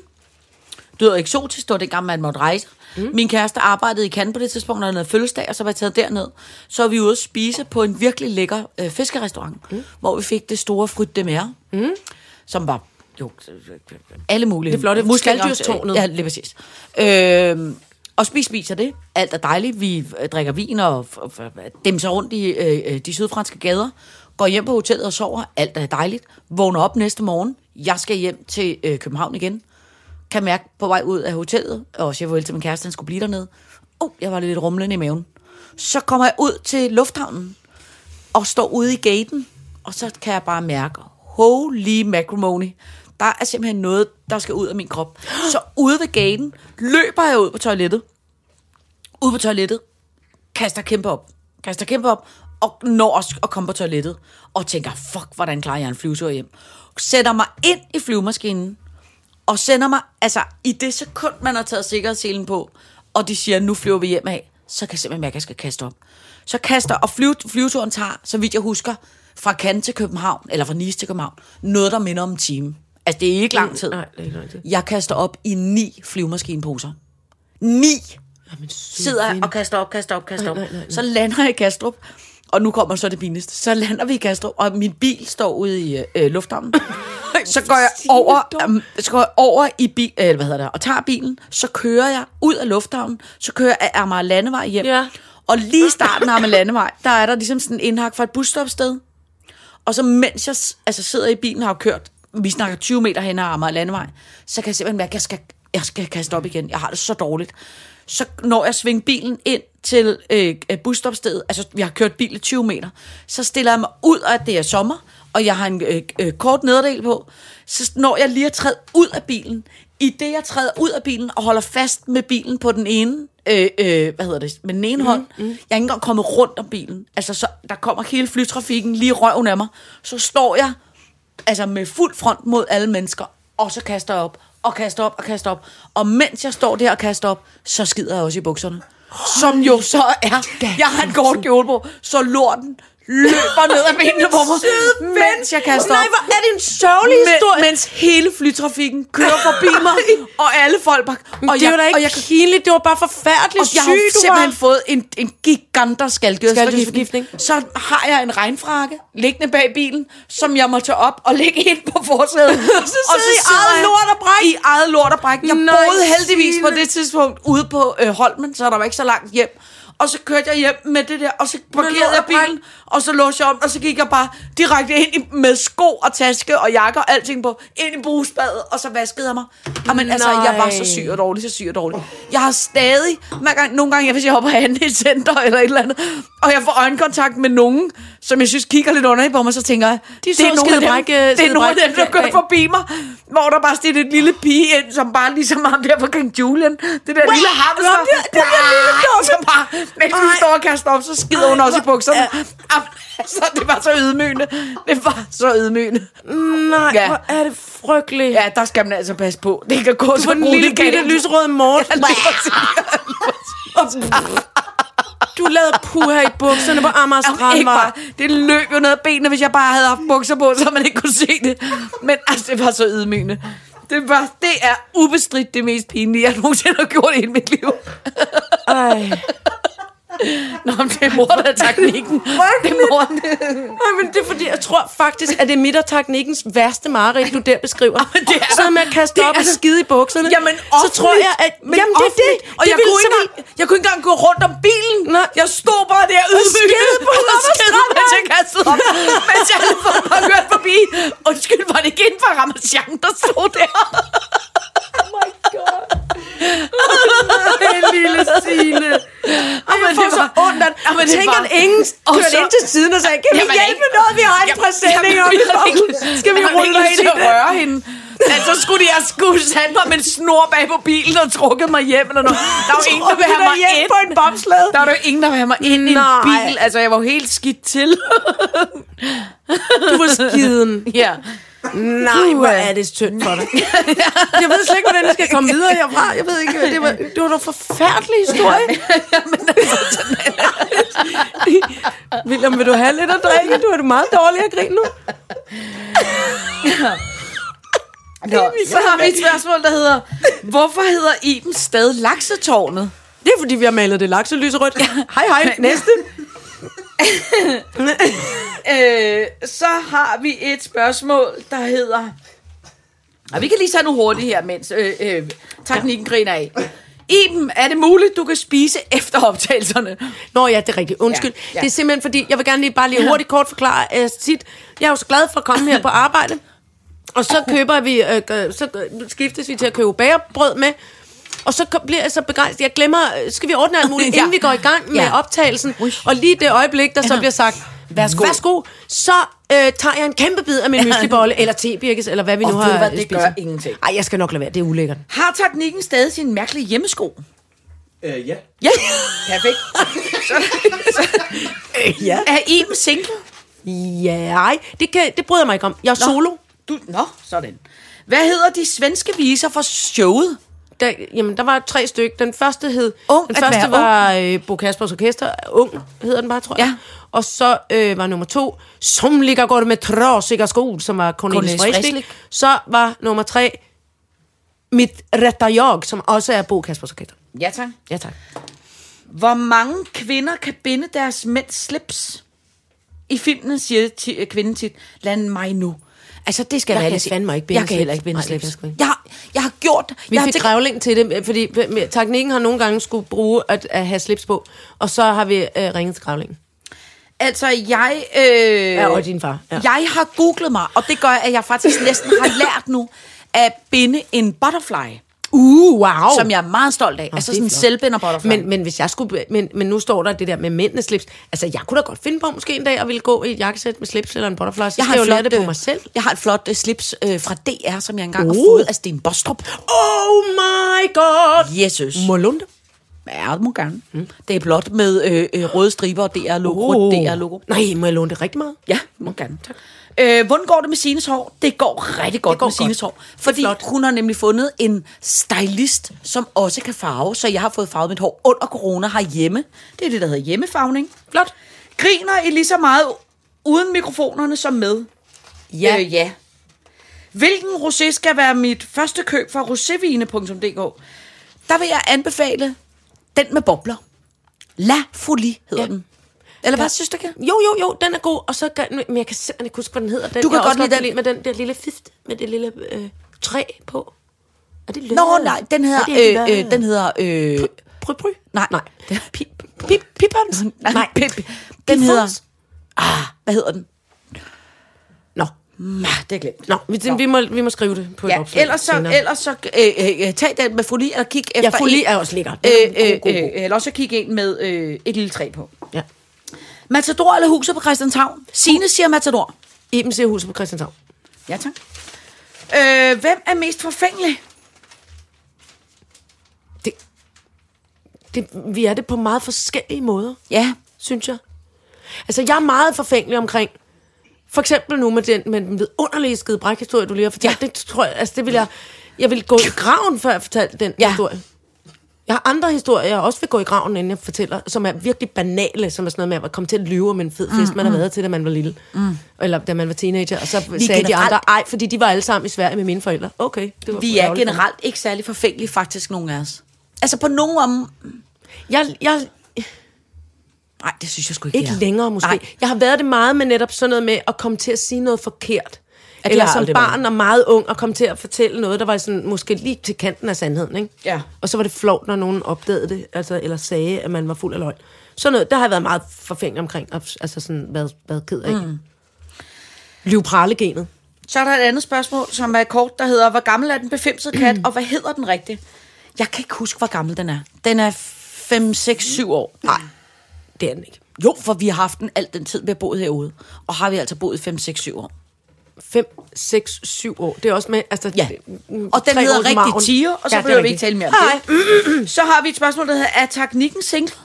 [SPEAKER 4] Det lyder eksotisk, det var dengang, man måtte rejse. Mm. Min kæreste arbejdede i Cannes på det tidspunkt, når han havde fødselsdag, og så var jeg taget derned. Så var vi ude at spise på en virkelig lækker øh, fiskerestaurant, mm. hvor vi fik det store fryt de mer, mm. som var jo, alle mulige.
[SPEAKER 3] Det flotte
[SPEAKER 4] muslinger.
[SPEAKER 3] skaldyrstårnet.
[SPEAKER 4] Ja, lige præcis. Øh, og spis spiser det. Alt er dejligt. Vi øh, drikker vin og f- f- demser rundt i øh, øh, de sydfranske gader. Går hjem på hotellet og sover. Alt er dejligt. Vågner op næste morgen. Jeg skal hjem til øh, København igen. Kan mærke på vej ud af hotellet. Og siger farvel til min kæreste, han skulle blive dernede. Oh, jeg var lidt rumlende i maven. Så kommer jeg ud til lufthavnen og står ude i gaten, og så kan jeg bare mærke, holy macrimony, der er simpelthen noget, der skal ud af min krop. Så ude ved gaten løber jeg ud på toilettet. Ude på toilettet, kaster kæmpe op, kaster kæmpe op, og når også at komme på toilettet, og tænker, fuck, hvordan klarer jeg en flyvetur hjem? Sætter mig ind i flyvemaskinen, og sender mig, altså i det sekund, man har taget sikkerhedsselen på, og de siger, nu flyver vi hjem af, så kan jeg simpelthen mærke, at jeg skal kaste op. Så kaster, og flyve, flyveturen tager, så vidt jeg husker, fra Cannes til København, eller fra Nice til København, noget, der minder om en time. Altså, det er ikke lang tid.
[SPEAKER 3] Mm, Nej, det er ikke lang tid.
[SPEAKER 4] Jeg kaster op i ni flyvemaskineposer. Ni!
[SPEAKER 3] Jamen,
[SPEAKER 4] sidder jeg og kaster op, kaster op, kaster op. Nej, nej, nej. Så lander jeg i Kastrup, og nu kommer så det pinligste. Så lander vi i Kastrup, og min bil står ude i øh, lufthavnen. så går jeg
[SPEAKER 3] Signe,
[SPEAKER 4] over,
[SPEAKER 3] dum.
[SPEAKER 4] um, så går jeg over i bil, øh, hvad hedder det, og tager bilen, så kører jeg ud af lufthavnen, så kører jeg af Amager Landevej hjem.
[SPEAKER 3] Ja.
[SPEAKER 4] Og lige i starten af Amager Landevej, der er der ligesom sådan en indhak fra et busstopsted. Og så mens jeg s- altså, sidder i bilen og har kørt, vi snakker 20 meter hen ad Amager Landevej, så kan jeg simpelthen mærke, at jeg skal, jeg skal kaste op igen. Jeg har det så dårligt. Så når jeg svinger bilen ind til øh, øh, busstopstedet, altså vi har kørt bil i 20 meter, så stiller jeg mig ud, og at det er sommer, og jeg har en øh, øh, kort nederdel på, så når jeg lige at træde ud af bilen, i det jeg træder ud af bilen og holder fast med bilen på den ene, øh, øh, hvad hedder det, med den ene mm, hånd. Mm. Jeg er ikke engang kommet rundt om bilen. Altså, så, der kommer hele flytrafikken lige i røven af mig. Så står jeg altså med fuld front mod alle mennesker, og så kaster jeg op, og kaster op, og kaster op. Og mens jeg står der og kaster op, så skider jeg også i bukserne. Som jo så er, jeg har en kort kjole på, så lorten løber ned af benene på mig,
[SPEAKER 3] Søde ven.
[SPEAKER 4] mens jeg kaster op.
[SPEAKER 3] Nej, hvor er det en sørgelig historie.
[SPEAKER 4] Men, mens hele flytrafikken kører forbi mig, og alle folk bare...
[SPEAKER 3] Men
[SPEAKER 4] Og
[SPEAKER 3] det er jo da
[SPEAKER 4] og
[SPEAKER 3] ikke
[SPEAKER 4] jeg,
[SPEAKER 3] pinligt, det var bare forfærdeligt
[SPEAKER 4] og jeg har
[SPEAKER 3] sygt, du
[SPEAKER 4] simpelthen
[SPEAKER 3] var.
[SPEAKER 4] fået en, en giganter
[SPEAKER 3] Skaldyrsforgiftning.
[SPEAKER 4] skalddyrsforgiftning. Så har jeg en regnfrakke liggende bag bilen, som jeg må tage op og lægge ind på forsædet. og
[SPEAKER 3] sidder I eget
[SPEAKER 4] jeg
[SPEAKER 3] lort og bræk?
[SPEAKER 4] I eget lort og bræk. Jeg
[SPEAKER 3] Nej,
[SPEAKER 4] boede heldigvis på
[SPEAKER 3] Signe.
[SPEAKER 4] det tidspunkt ude på øh, Holmen, så der var ikke så langt hjem. Og så kørte jeg hjem med det der, og så parkerede
[SPEAKER 3] lort
[SPEAKER 4] jeg
[SPEAKER 3] og bræk.
[SPEAKER 4] bilen, og så låste jeg om, og så gik jeg bare direkte ind i, med sko og taske og jakke og alting på, ind i brusbadet, og så vaskede jeg mig. Jamen altså, jeg var så
[SPEAKER 3] Nej.
[SPEAKER 4] syg og dårlig, så syg og dårlig. Jeg har stadig, hver gang, nogle gange, hvis jeg hopper handen i et center eller et eller andet, og jeg får øjenkontakt med nogen, som jeg synes kigger lidt underligt på mig, så tænker jeg,
[SPEAKER 3] De
[SPEAKER 4] det
[SPEAKER 3] så
[SPEAKER 4] er nogle af
[SPEAKER 3] skide
[SPEAKER 4] dem,
[SPEAKER 3] brække-
[SPEAKER 4] det er
[SPEAKER 3] skide
[SPEAKER 4] nogle af
[SPEAKER 3] brække
[SPEAKER 4] dem, der
[SPEAKER 3] dag.
[SPEAKER 4] kører forbi mig, hvor der bare stiller et lille pige ind, som bare ligesom ham der fra King Julian, det der lille hamster,
[SPEAKER 3] ham der- den der lille
[SPEAKER 4] der, som bare, mens hun
[SPEAKER 3] Ej.
[SPEAKER 4] står og kaster op, så skider hun
[SPEAKER 3] Ej,
[SPEAKER 4] også i
[SPEAKER 3] hvor-
[SPEAKER 4] bukserne.
[SPEAKER 3] Ja.
[SPEAKER 4] Jamen, Altså, det var så ydmygende. Det var så ydmygende.
[SPEAKER 3] Nej,
[SPEAKER 4] Ja.
[SPEAKER 3] hvor er det frygteligt.
[SPEAKER 4] Ja, der skal man altså passe på. Det kan Altså, gå så
[SPEAKER 3] På den lille
[SPEAKER 4] grueligt
[SPEAKER 3] bitte
[SPEAKER 4] galt.
[SPEAKER 3] lysrøde mort.
[SPEAKER 4] Ja, lige præcis.
[SPEAKER 3] Du lavede puha i bukserne på Amager Strand,
[SPEAKER 4] Ikke bare,
[SPEAKER 3] var.
[SPEAKER 4] det løb jo ned af benene, hvis jeg bare havde haft bukser på, så man ikke kunne se det. Men altså, det var så ydmygende. Det, var, det er ubestridt det mest pinlige, jeg nogensinde har gjort i hele mit liv.
[SPEAKER 3] Ej.
[SPEAKER 4] Nå, men det er mor, der er teknikken. Det er mor.
[SPEAKER 3] Ej, men det er fordi, jeg tror faktisk, at det er mit og teknikkens værste mareridt, du der beskriver.
[SPEAKER 4] det er
[SPEAKER 3] Sådan
[SPEAKER 4] der.
[SPEAKER 3] med at kaste
[SPEAKER 4] Det
[SPEAKER 3] op
[SPEAKER 4] er
[SPEAKER 3] og
[SPEAKER 4] der.
[SPEAKER 3] skide i bukserne.
[SPEAKER 4] Jamen,
[SPEAKER 3] så
[SPEAKER 4] offentligt.
[SPEAKER 3] tror jeg, at...
[SPEAKER 4] Men
[SPEAKER 3] jamen, det er det.
[SPEAKER 4] offentligt. Og
[SPEAKER 3] det
[SPEAKER 4] jeg,
[SPEAKER 3] ville
[SPEAKER 4] kunne ikke
[SPEAKER 3] så
[SPEAKER 4] engang, jeg kunne ikke engang gå rundt om bilen.
[SPEAKER 3] Nej.
[SPEAKER 4] Jeg stod bare der ydmygende
[SPEAKER 3] skældede på ham og skræmmede
[SPEAKER 4] mens jeg kastede op. mens jeg havde fået bare kørt forbi. Undskyld, var det ikke inden for Ramazan, der stod der? Oh
[SPEAKER 3] Ej, lille Signe. Ej,
[SPEAKER 4] Jamen,
[SPEAKER 3] jeg får
[SPEAKER 4] det
[SPEAKER 3] så
[SPEAKER 4] var-
[SPEAKER 3] ondt, at
[SPEAKER 4] Jamen, det
[SPEAKER 3] tænker,
[SPEAKER 4] var-
[SPEAKER 3] at ingen
[SPEAKER 4] Og
[SPEAKER 3] kørte
[SPEAKER 4] så-
[SPEAKER 3] ind til siden og sagde, kan vi
[SPEAKER 4] Jamen,
[SPEAKER 3] hjælpe
[SPEAKER 4] ikke-
[SPEAKER 3] noget, vi har en
[SPEAKER 4] Jamen,
[SPEAKER 3] præsending
[SPEAKER 4] jamen,
[SPEAKER 3] om?
[SPEAKER 4] jeg har ikke-
[SPEAKER 3] Skal vi
[SPEAKER 4] jeg har
[SPEAKER 3] rulle
[SPEAKER 4] ikke
[SPEAKER 3] dig
[SPEAKER 4] lyst
[SPEAKER 3] ind
[SPEAKER 4] til
[SPEAKER 3] i
[SPEAKER 4] at
[SPEAKER 3] det?
[SPEAKER 4] røre hende? Altså, skulle de have skulle sat mig med en snor bag på bilen og trukket mig hjem eller noget? Der var ingen, der ville have mig
[SPEAKER 3] hjem
[SPEAKER 4] ind.
[SPEAKER 3] på en bobsled.
[SPEAKER 4] Der var jo ingen, der ville have mig ind i en
[SPEAKER 3] Nej.
[SPEAKER 4] bil. Altså, jeg var jo helt skidt til.
[SPEAKER 3] Du var skiden.
[SPEAKER 4] ja.
[SPEAKER 3] Nej, hvor er det tyndt for dig. Jeg ved slet ikke, hvordan jeg skal komme videre herfra. Jeg ved ikke, det var, det var en forfærdelig historie. William, vil du have lidt at drikke? Du er det meget dårlig at grine nu.
[SPEAKER 4] Nå, så har vi et spørgsmål, der hedder, hvorfor hedder Iben stadig laksetårnet?
[SPEAKER 3] Det er, fordi vi har malet det lakselyserødt. Hej, hej. Næste.
[SPEAKER 4] Øh, så har vi et spørgsmål, der hedder... Og vi kan lige tage nu hurtigt her, mens øh, øh, teknikken griner af. Iben, er det muligt, du kan spise efter optagelserne?
[SPEAKER 3] Nå ja, det er rigtigt. Undskyld. Ja,
[SPEAKER 4] Ja,
[SPEAKER 3] ja.
[SPEAKER 4] ja.
[SPEAKER 3] Det er simpelthen fordi, jeg vil gerne lige bare lige hurtigt kort forklare øh, tit. Jeg er jo så glad for at komme her på arbejde. Og så køber vi, øh, øh, så øh, skiftes vi til at købe bagerbrød med. Og så kom- bliver jeg så begejstret. Jeg glemmer, øh, skal vi ordne alt muligt,
[SPEAKER 4] Ja.
[SPEAKER 3] ja. inden vi går i gang med
[SPEAKER 4] Ja.
[SPEAKER 3] ja. optagelsen. Og lige det øjeblik, der så bliver sagt, værsgo, værsgo så øh, tager jeg en kæmpe bid af min myslibolle, eller tebirkes, eller hvad vi
[SPEAKER 4] Og
[SPEAKER 3] nu
[SPEAKER 4] ved
[SPEAKER 3] har
[SPEAKER 4] du hvad,
[SPEAKER 3] øh,
[SPEAKER 4] det
[SPEAKER 3] spist.
[SPEAKER 4] gør ingenting.
[SPEAKER 3] Ej, jeg skal nok lade være, det er ulækkert.
[SPEAKER 4] Har teknikken stadig sin mærkelige hjemmesko?
[SPEAKER 5] Øh, ja.
[SPEAKER 4] Ja. Perfekt. ja. Er Iben single?
[SPEAKER 3] Ja, ej, det, kan, det bryder jeg mig ikke om. Jeg er solo.
[SPEAKER 4] Du, nå, sådan. Hvad hedder de svenske viser for showet?
[SPEAKER 3] Der, jamen, der var tre stykker. Den første hed...
[SPEAKER 4] Ung
[SPEAKER 3] den
[SPEAKER 4] at
[SPEAKER 3] første
[SPEAKER 4] være
[SPEAKER 3] var øh, Bo Kaspers Orkester. Ung hedder den bare, tror jeg.
[SPEAKER 4] Ja.
[SPEAKER 3] Og så øh, var nummer to... Som ligger godt med trasig og skol, som var Cornelis
[SPEAKER 4] Cornelis
[SPEAKER 3] Vreeswijk.
[SPEAKER 4] Vreeswijk.
[SPEAKER 3] Så var nummer tre... Mit retter jeg, som også er Bo Kaspers Orkester.
[SPEAKER 4] Ja, tak.
[SPEAKER 3] Ja, tak.
[SPEAKER 4] Hvor mange kvinder kan binde deres mænds slips? I filmen siger ti- øh, kvinden tit, land mig nu. Altså, det skal
[SPEAKER 3] Jeg
[SPEAKER 4] være
[SPEAKER 3] kan
[SPEAKER 4] ærlig sige.
[SPEAKER 3] fandme ikke binde
[SPEAKER 4] Jeg kan
[SPEAKER 3] slips.
[SPEAKER 4] heller ikke binde
[SPEAKER 3] Nej, det kan
[SPEAKER 4] slips.
[SPEAKER 3] jeg sgu ikke.
[SPEAKER 4] Jeg, har- jeg har gjort...
[SPEAKER 3] Vi
[SPEAKER 4] jeg har
[SPEAKER 3] fik
[SPEAKER 4] tænkt-
[SPEAKER 3] krævling til det, fordi øh, teknikken har nogle gange skulle bruge at, at have slips på. Og så har vi øh, ringet til krævlingen.
[SPEAKER 4] Altså, jeg... Øh,
[SPEAKER 3] Ja, og din far, ja.
[SPEAKER 4] Jeg har googlet mig, og det gør, at jeg faktisk næsten har lært nu at binde en butterfly,
[SPEAKER 3] Uh, wow.
[SPEAKER 4] som jeg er meget stolt af. altså
[SPEAKER 3] det er
[SPEAKER 4] sådan en
[SPEAKER 3] flot.
[SPEAKER 4] selvbinder butterfly.
[SPEAKER 3] Men, men hvis jeg skulle, men, men nu står der det der med mændenes slips. Altså, jeg kunne da godt finde på måske en dag at ville gå i et jakkesæt med slips eller en butterfly. Så jeg skal jeg jo lære det på
[SPEAKER 4] øh,
[SPEAKER 3] mig selv.
[SPEAKER 4] Jeg har et flot øh, slips øh, fra DR, som jeg engang har
[SPEAKER 3] Uh.
[SPEAKER 4] fået af Sten Bostrup.
[SPEAKER 3] Oh my god!
[SPEAKER 4] Jesus.
[SPEAKER 3] Molunde.
[SPEAKER 4] Ja, det må gerne. Mm. Det er blot med øh, øh, røde striber og DR-logo. Oh. DR-logo.
[SPEAKER 3] Nej, må jeg låne det rigtig meget?
[SPEAKER 4] Ja, det må gerne. Tak. Øh, hvordan går det med Sines hår? Det går rigtig godt
[SPEAKER 3] Det går
[SPEAKER 4] med Sines
[SPEAKER 3] godt.
[SPEAKER 4] hår. Fordi
[SPEAKER 3] flot.
[SPEAKER 4] hun har nemlig fundet en stylist, som også kan farve. Så jeg har fået farvet mit hår under corona herhjemme. Det er det, der hedder hjemmefarvning.
[SPEAKER 3] Flot.
[SPEAKER 4] Griner I lige så meget uden mikrofonerne som med?
[SPEAKER 3] Ja.
[SPEAKER 4] Øh, ja. Hvilken rosé skal være mit første køb fra rosévine.dk? Der vil jeg anbefale den med bobler. La Folie hedder
[SPEAKER 3] Ja.
[SPEAKER 4] ja. den. Eller hvad
[SPEAKER 3] Ja.
[SPEAKER 4] synes du, kan?
[SPEAKER 3] Jo, jo, jo, den er god. Og så gør, men jeg kan simpelthen ikke huske, hvad den hedder. Den,
[SPEAKER 4] Du kan
[SPEAKER 3] jeg
[SPEAKER 4] godt
[SPEAKER 3] også
[SPEAKER 4] lide den.
[SPEAKER 3] Med den der lille fift, med det lille øh, træ på. Er det løbet?
[SPEAKER 4] Nå, nej, den hedder... Øh, øh, den hedder øh,
[SPEAKER 3] Pry, pry.
[SPEAKER 4] Nej.
[SPEAKER 3] Nej. Pip, pip, pippons.
[SPEAKER 4] nej, Pip. Den
[SPEAKER 3] Pip
[SPEAKER 4] hedder...
[SPEAKER 3] Foods.
[SPEAKER 4] Ah, hvad hedder den?
[SPEAKER 3] Nå.
[SPEAKER 4] Ah, det er glemt.
[SPEAKER 3] Nå, vi, vi, må, vi må skrive det på et
[SPEAKER 4] Ja,
[SPEAKER 3] opslag.
[SPEAKER 4] ellers så,
[SPEAKER 3] senere.
[SPEAKER 4] ellers så øh, øh, øh, tag den med folie, eller kig efter
[SPEAKER 3] Ja, folie
[SPEAKER 4] en-
[SPEAKER 3] er også lækker. Den er
[SPEAKER 4] Øh,
[SPEAKER 3] god,
[SPEAKER 4] øh,
[SPEAKER 3] god, god.
[SPEAKER 4] øh, eller også kig en med øh, et lille træ på.
[SPEAKER 3] Ja.
[SPEAKER 4] Matador eller huset på Christianshavn? Sine siger Matador.
[SPEAKER 3] Iben ser huset på Christianshavn.
[SPEAKER 4] Ja, tak. Øh, hvem er mest forfængelig?
[SPEAKER 3] Det, det, vi er det på meget forskellige måder,
[SPEAKER 4] Ja.
[SPEAKER 3] synes jeg. Altså, jeg er meget forfængelig omkring... For eksempel nu med den, med den vidunderlige skide brækhistorie, du lige har fortalt. Ja. Det tror jeg, altså det vil jeg... Jeg vil gå i graven, før jeg fortalte den ja.
[SPEAKER 4] Ja.
[SPEAKER 3] historie. Jeg har andre historier, jeg også vil gå i graven, inden jeg fortæller, som er virkelig banale, som er sådan noget med at komme til at lyve om en fed fest, mm, man har været til, da man var lille. Mm. Eller da man var teenager. Og så sagde de
[SPEAKER 4] generelt-
[SPEAKER 3] andre, ej, fordi de var alle sammen i Sverige med mine forældre. Okay, det var
[SPEAKER 4] Vi er
[SPEAKER 3] ærgerligt for mig.
[SPEAKER 4] generelt ikke særlig forfængelige, faktisk, nogen af os. Altså på nogen om...
[SPEAKER 3] Jeg, jeg,
[SPEAKER 4] Nej, det synes jeg sgu ikke,
[SPEAKER 3] Ikke
[SPEAKER 4] jeg
[SPEAKER 3] ja.
[SPEAKER 4] er.
[SPEAKER 3] længere måske. Nej.
[SPEAKER 4] Nej.
[SPEAKER 3] Jeg har været det meget med netop sådan noget med at komme til at sige noget forkert.
[SPEAKER 4] det
[SPEAKER 3] Eller
[SPEAKER 4] har jeg
[SPEAKER 3] som
[SPEAKER 4] aldrig
[SPEAKER 3] barn og meget ung og komme til at fortælle noget, der var sådan, måske lige til kanten af sandheden. Ikke?
[SPEAKER 4] Ja.
[SPEAKER 3] Og så var det flovt, når nogen opdagede det, altså, eller sagde, at man var fuld af løgn. Sådan noget, der har jeg været meget forfængelig omkring, og altså sådan været, været ked af. Mm. Livpralegenet.
[SPEAKER 4] Så er der et andet spørgsmål, som er kort, der hedder, hvor gammel er den befimsede kat, og hvad hedder den rigtigt? Jeg kan ikke huske, hvor gammel den er. Den er 5, 6, 7 år.
[SPEAKER 3] Nej, det er den ikke.
[SPEAKER 4] Jo, for vi har haft den alt den tid, vi har boet herude. Og har vi altså boet 5, 6, 7 år.
[SPEAKER 3] 5, 6, 7 år. Det er også med, altså...
[SPEAKER 4] Ja.
[SPEAKER 3] mm,
[SPEAKER 4] Og den
[SPEAKER 3] tre
[SPEAKER 4] hedder
[SPEAKER 3] års margen.
[SPEAKER 4] rigtig tiger, og
[SPEAKER 3] Ja,
[SPEAKER 4] så
[SPEAKER 3] det
[SPEAKER 4] ja,
[SPEAKER 3] er
[SPEAKER 4] behøver vi ikke
[SPEAKER 3] rigtigt.
[SPEAKER 4] tale mere om det. Så har vi et spørgsmål, der hedder, er teknikken single?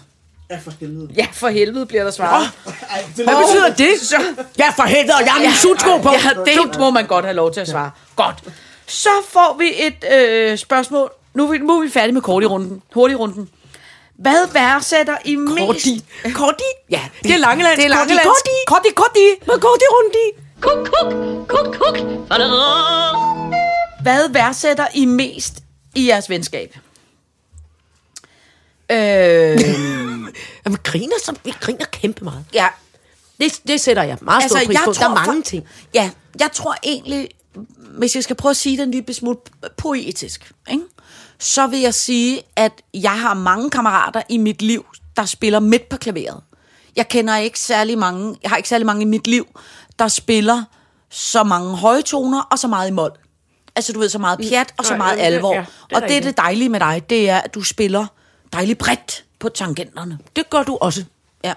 [SPEAKER 5] Ja, for helvede.
[SPEAKER 4] Ja, for helvede bliver der svaret. Oh,
[SPEAKER 5] Ej,
[SPEAKER 3] Hvad
[SPEAKER 5] det lyder-
[SPEAKER 3] betyder det? Ja, for helvede, og jeg har min sutsko på.
[SPEAKER 4] Ja, det må man godt have lov til at svare. Godt. Så får vi et øh, spørgsmål. Nu er vi, nu er vi færdige med kortirunden. Hurtigrunden. Hvad værdsætter I mest?
[SPEAKER 3] Korti. Korti? Ja, det,
[SPEAKER 4] Det er Langeland.
[SPEAKER 3] Det er Langeland.
[SPEAKER 4] Korti, korti.
[SPEAKER 3] Hvor går det rundt i?
[SPEAKER 2] Kuk, kuk, kuk, kuk.
[SPEAKER 4] Hvad værdsætter I mest i jeres venskab? Øh,
[SPEAKER 3] Jamen, griner, som, vi griner kæmpe meget.
[SPEAKER 4] ja,
[SPEAKER 3] Det, det sætter jeg meget stor pris på. Der er mange
[SPEAKER 4] Altså, for-
[SPEAKER 3] ting.
[SPEAKER 4] Ja, jeg tror egentlig, hvis jeg skal prøve at sige det en lille smule poetisk, ikke? så vil jeg sige, at jeg har mange kammerater i mit liv, der spiller midt på klaveret. Jeg kender ikke særlig mange, jeg har ikke særlig mange i mit liv, der spiller så mange høje toner og så meget i mol. Altså du ved, så meget pjat og så
[SPEAKER 3] Nej,
[SPEAKER 4] meget
[SPEAKER 3] Mm. ja, det-
[SPEAKER 4] alvor.
[SPEAKER 3] ja, det
[SPEAKER 4] Ja,
[SPEAKER 3] er
[SPEAKER 4] det og det er
[SPEAKER 3] rigtigt.
[SPEAKER 4] det dejlige med dig, det er, at du spiller dejligt bredt på tangenterne.
[SPEAKER 3] Det gør du også.
[SPEAKER 4] Ja.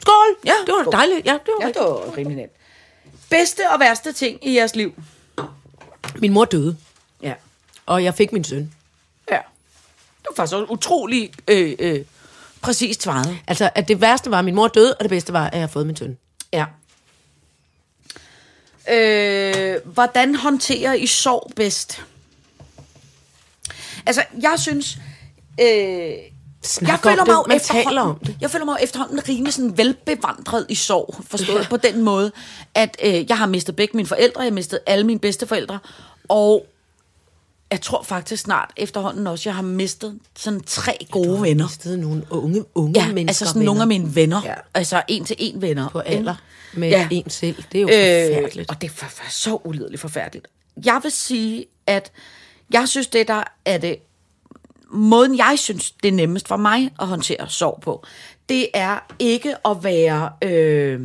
[SPEAKER 3] Skål!
[SPEAKER 4] Ja,
[SPEAKER 3] det var
[SPEAKER 4] skål.
[SPEAKER 3] dejligt. Ja, det var,
[SPEAKER 4] Ja,
[SPEAKER 3] rigtigt.
[SPEAKER 4] det var rimelig nemt. Bedste og værste ting i jeres liv?
[SPEAKER 3] Min mor døde,
[SPEAKER 4] Ja.
[SPEAKER 3] og jeg fik min søn.
[SPEAKER 4] Ja. Det var faktisk også utrolig øh, øh, præcist svaret.
[SPEAKER 3] Altså, at det værste var, at min mor døde, og det bedste var, at jeg har fået min søn.
[SPEAKER 4] Ja. Øh, hvordan håndterer I sorg bedst? Altså, jeg synes... Øh,
[SPEAKER 3] Snak om det. Man
[SPEAKER 4] efterhånden-
[SPEAKER 3] taler om det.
[SPEAKER 4] Jeg føler mig jo efterhånden rimelig sådan velbevandret i sorg, forstået på den måde, at øh, jeg har mistet begge mine forældre, jeg har mistet alle mine bedsteforældre, og jeg tror faktisk snart efterhånden også, jeg har mistet sådan tre gode venner.
[SPEAKER 3] I stedet nogle unge, unge
[SPEAKER 4] Ja,
[SPEAKER 3] mennesker.
[SPEAKER 4] altså sådan nogle af
[SPEAKER 3] venner
[SPEAKER 4] mine venner.
[SPEAKER 3] Ja.
[SPEAKER 4] Ja. Altså en til en venner.
[SPEAKER 3] På alder med
[SPEAKER 4] Ja.
[SPEAKER 3] en selv. Det er jo øh, forfærdeligt.
[SPEAKER 4] Og det var, var så ulideligt forfærdeligt. Jeg vil sige, at jeg synes, det der er det... Måden, jeg synes, det er nemmest for mig at håndtere sorg på, det er ikke at være... Øh,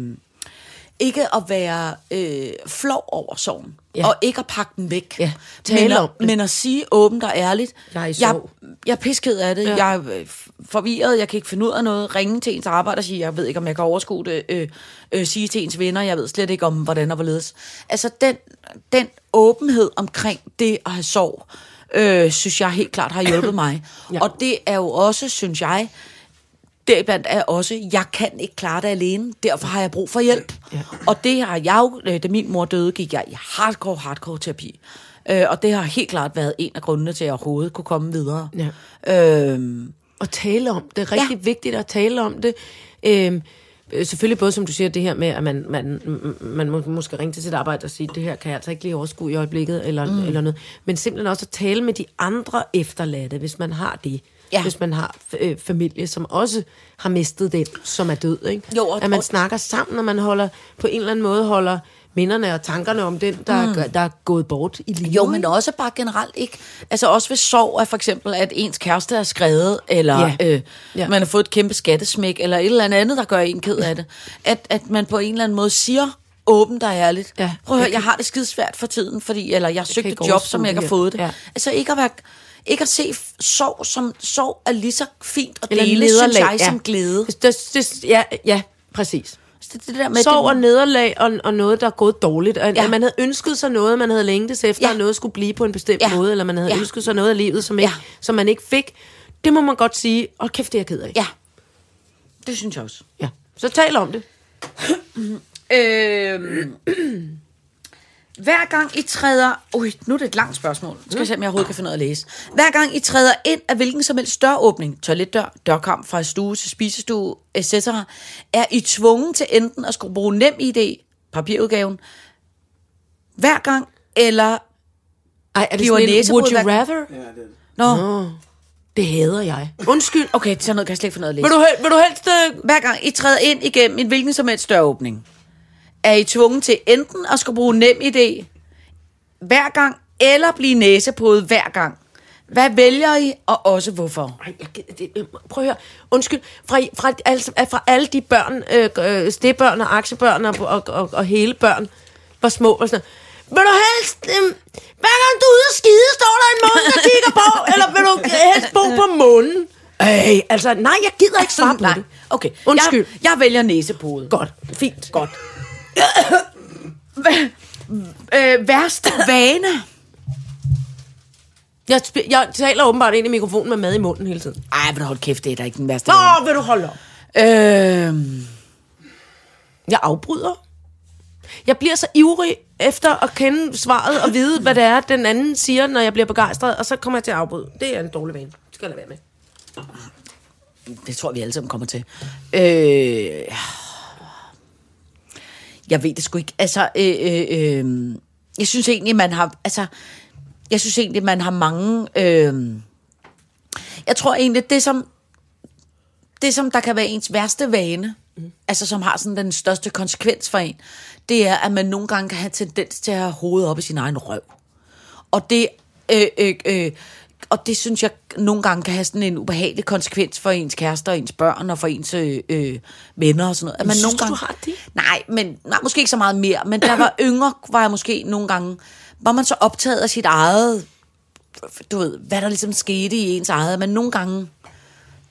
[SPEAKER 4] ikke at være øh, flov over sorgen.
[SPEAKER 3] Ja.
[SPEAKER 4] Ja. Og ikke at pakke den væk.
[SPEAKER 3] Ja, tale
[SPEAKER 4] men, at,
[SPEAKER 3] om det.
[SPEAKER 4] men at sige åbent og ærligt,
[SPEAKER 3] Jeg er i
[SPEAKER 4] jeg,
[SPEAKER 3] sorg.
[SPEAKER 4] jeg er pisked af det,
[SPEAKER 3] Ja.
[SPEAKER 4] ja. jeg er øh, f- forvirret, jeg kan ikke finde ud af noget, ringe til ens arbejde og sige, jeg ved ikke, om jeg kan overskue det, øh, øh, sige til ens venner, jeg ved slet ikke om, hvordan og hvorledes. Altså den, den åbenhed omkring det at have sorg, øh, synes jeg helt klart har hjulpet mig.
[SPEAKER 3] Ja.
[SPEAKER 4] ja. Og det er jo også, synes jeg, deriblandt er også, jeg kan ikke klare det alene, derfor har jeg brug for hjælp.
[SPEAKER 3] Ja.
[SPEAKER 4] Ja. Og det har jeg jo, øh, da min mor døde, gik jeg i hardcore, hardcore terapi. Øh, og det har helt klart været en af grundene til, at jeg overhovedet kunne komme videre.
[SPEAKER 3] Ja.
[SPEAKER 4] Øhm,
[SPEAKER 3] at tale om det. Rigtig ja. vigtigt at tale om det. Øhm, øh, selvfølgelig både, som du siger, det her med, at man, man, m- man må, måske ringe til sit arbejde og sige, det her kan jeg altså ikke lige overskue i øjeblikket, eller, mm. eller noget. Men simpelthen også at tale med de andre efterladte, hvis man har det. Ja.
[SPEAKER 4] Ja.
[SPEAKER 3] Hvis man har øh, familie, som også har mistet den, som er død. Ikke?
[SPEAKER 4] Jo, og-
[SPEAKER 3] at man
[SPEAKER 4] og-
[SPEAKER 3] snakker sammen, og man holder på en eller anden måde holder minderne og tankerne om den, der, mm. der er gået bort i livet.
[SPEAKER 4] jo,
[SPEAKER 3] ikke?
[SPEAKER 4] men også bare generelt ikke. Altså også ved sorg, at for eksempel, at ens kæreste er skrevet, eller
[SPEAKER 3] Ja.
[SPEAKER 4] ja. Øh,
[SPEAKER 3] Ja.
[SPEAKER 4] ja. man har fået et kæmpe skattesmæk, eller et eller andet andet, der gør en ked af det. At, at man på en eller anden måde siger åbent og ærligt.
[SPEAKER 3] Ja.
[SPEAKER 4] Prøv at
[SPEAKER 3] Jeg
[SPEAKER 4] høre, jeg har det skide svært for tiden, fordi, eller jeg har søgt
[SPEAKER 3] ikke
[SPEAKER 4] et job,
[SPEAKER 3] overskue
[SPEAKER 4] som jeg ikke
[SPEAKER 3] det
[SPEAKER 4] har
[SPEAKER 3] her."
[SPEAKER 4] fået det.
[SPEAKER 3] Ja.
[SPEAKER 4] Ja. Altså ikke at, være, ikke at se f- sorg som sorg er lige så fint at
[SPEAKER 3] Eller
[SPEAKER 4] dele,
[SPEAKER 3] nederlag,
[SPEAKER 4] synes jeg,
[SPEAKER 3] ja.
[SPEAKER 4] som glæde.
[SPEAKER 3] Det, det, det, ja, ja, præcis.
[SPEAKER 4] Så Det, det der med,
[SPEAKER 3] med sorg
[SPEAKER 4] det,
[SPEAKER 3] og nederlag og, og noget, der er gået dårligt. Og, ja.
[SPEAKER 4] Ja.
[SPEAKER 3] at man havde ønsket sig noget, man havde længtes efter, ja.
[SPEAKER 4] Ja.
[SPEAKER 3] at noget skulle blive på en bestemt ja.
[SPEAKER 4] Ja.
[SPEAKER 3] måde, eller man havde ja.
[SPEAKER 4] Ja.
[SPEAKER 3] ønsket sig noget af livet, som, ikke, ja.
[SPEAKER 4] Ja.
[SPEAKER 3] som man ikke fik. Det må man godt sige, og kæft, det er jeg ked af.
[SPEAKER 4] Ja, det synes jeg også.
[SPEAKER 3] ja. Så tal om det.
[SPEAKER 4] Øh, hver gang I træder... Ui, nu er det et langt spørgsmål. Skal jeg se, om jeg overhovedet kan finde ud af at læse. Hver gang I træder ind af hvilken som helst døråbning, toiletdør, dørkamp fra stue til spisestue, etc., er I tvunget til enten at skulle bruge nem idé, papirudgaven, hver gang, eller...
[SPEAKER 3] Ej, er det
[SPEAKER 4] Bliver
[SPEAKER 3] sådan en,
[SPEAKER 4] næsebrud
[SPEAKER 3] would you
[SPEAKER 4] hver-
[SPEAKER 3] rather?
[SPEAKER 5] Ja, det er det.
[SPEAKER 4] Nå,
[SPEAKER 3] Det hader jeg. Undskyld.
[SPEAKER 4] okay, sådan noget kan jeg slet ikke finde ud af at læse.
[SPEAKER 3] Vil du, hel- vil du helst... Øh,
[SPEAKER 4] hver gang I træder ind igennem en hvilken som helst døråbning, er I tvunget til enten at skulle bruge nem idé hver gang, eller blive næsepodet hver gang. Hvad vælger I, og også hvorfor?
[SPEAKER 3] Ej, jeg, gider- det, øh, prøv at høre. Undskyld. Fra, fra, altså, at fra alle de børn, øh, øh, stebørn og aktiebørn og, og, og, og hele børn, var små og sådan noget. Vil du helst... Øh, hver gang du er ude og skide, står der en måne, der kigger på, eller vil du helst bo på månen? Ej, Altså, nej, jeg gider ikke svare på
[SPEAKER 4] Nej,
[SPEAKER 3] det.
[SPEAKER 4] okay.
[SPEAKER 3] Undskyld.
[SPEAKER 4] Jeg, jeg vælger næsepude.
[SPEAKER 3] Godt, fint.
[SPEAKER 4] Godt. Hva- øh, værste vane?
[SPEAKER 3] Jeg, sp- jeg taler åbenbart ind i mikrofonen med mad i munden hele tiden.
[SPEAKER 4] Ej, men hold kæft, det er da ikke den værste
[SPEAKER 3] Nå,
[SPEAKER 4] vane.
[SPEAKER 3] vil du holde op?
[SPEAKER 4] Øhm,
[SPEAKER 3] Jeg afbryder. Jeg bliver så ivrig efter at kende svaret og vide, hvad det er, den anden siger, når jeg bliver begejstret, og så kommer jeg til at afbryde. Det er en dårlig vane. Det skal jeg lade være med.
[SPEAKER 4] det tror jeg, vi alle sammen kommer til. Øh, jeg ved det sgu ikke. Altså, øh, øh, øh, jeg synes egentlig, man har... Altså, jeg synes egentlig, man har mange... Øh, jeg tror egentlig, det som, det som der kan være ens værste vane, mm. altså som har sådan den største konsekvens for en, det er, at man nogle gange kan have tendens til at have hovedet op i sin egen røv. Og det, øh, øh, øh, og det synes jeg nogle gange kan have sådan en ubehagelig konsekvens for ens kærester og ens børn og for ens øh, øh, venner og sådan noget. At man
[SPEAKER 3] synes
[SPEAKER 4] nogle
[SPEAKER 3] du,
[SPEAKER 4] gange,
[SPEAKER 3] du har det?
[SPEAKER 4] Nej, men nej, måske ikke så meget mere. Men da jeg var yngre, var jeg måske nogle gange, var man så optaget af sit eget, du ved, hvad der ligesom skete i ens eget, men nogle gange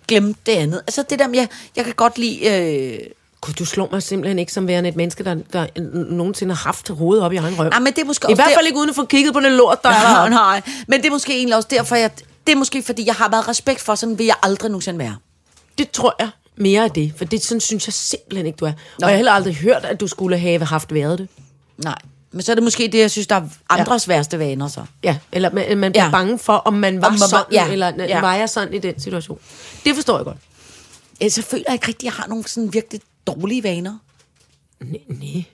[SPEAKER 4] glemte det andet. Altså det der med, jeg, jeg kan godt lide... Øh,
[SPEAKER 3] Gud, du slår mig simpelthen ikke som værende et menneske, der, der n- nogensinde har haft hovedet op i egen røv.
[SPEAKER 4] Nej, men det er måske
[SPEAKER 3] I
[SPEAKER 4] også
[SPEAKER 3] hvert
[SPEAKER 4] der-
[SPEAKER 3] fald ikke uden at få kigget på det lort, der er
[SPEAKER 4] nej,
[SPEAKER 3] deroppe.
[SPEAKER 4] nej, men det er måske egentlig også derfor, jeg, det er måske fordi, jeg har været respekt for, sådan vil jeg aldrig nogensinde være.
[SPEAKER 3] Det tror jeg mere af det, for det sådan synes jeg simpelthen ikke, du er. Og jeg har heller aldrig hørt, at du skulle have haft været det.
[SPEAKER 4] Nej, men så er det måske det, jeg synes, der er andres ja. værste vaner så.
[SPEAKER 3] Ja, eller man, man bliver
[SPEAKER 4] Ja.
[SPEAKER 3] ja. bange for, om man var
[SPEAKER 4] Om
[SPEAKER 3] om man,
[SPEAKER 4] man var-
[SPEAKER 3] sådan,
[SPEAKER 4] ja,
[SPEAKER 3] ja. eller
[SPEAKER 4] ja.
[SPEAKER 3] ja. var jeg sådan i den situation. Det forstår jeg godt.
[SPEAKER 4] Ellers så føler jeg ikke rigtigt, at jeg har nogle sådan virkelig dårlige vaner.
[SPEAKER 3] Nej.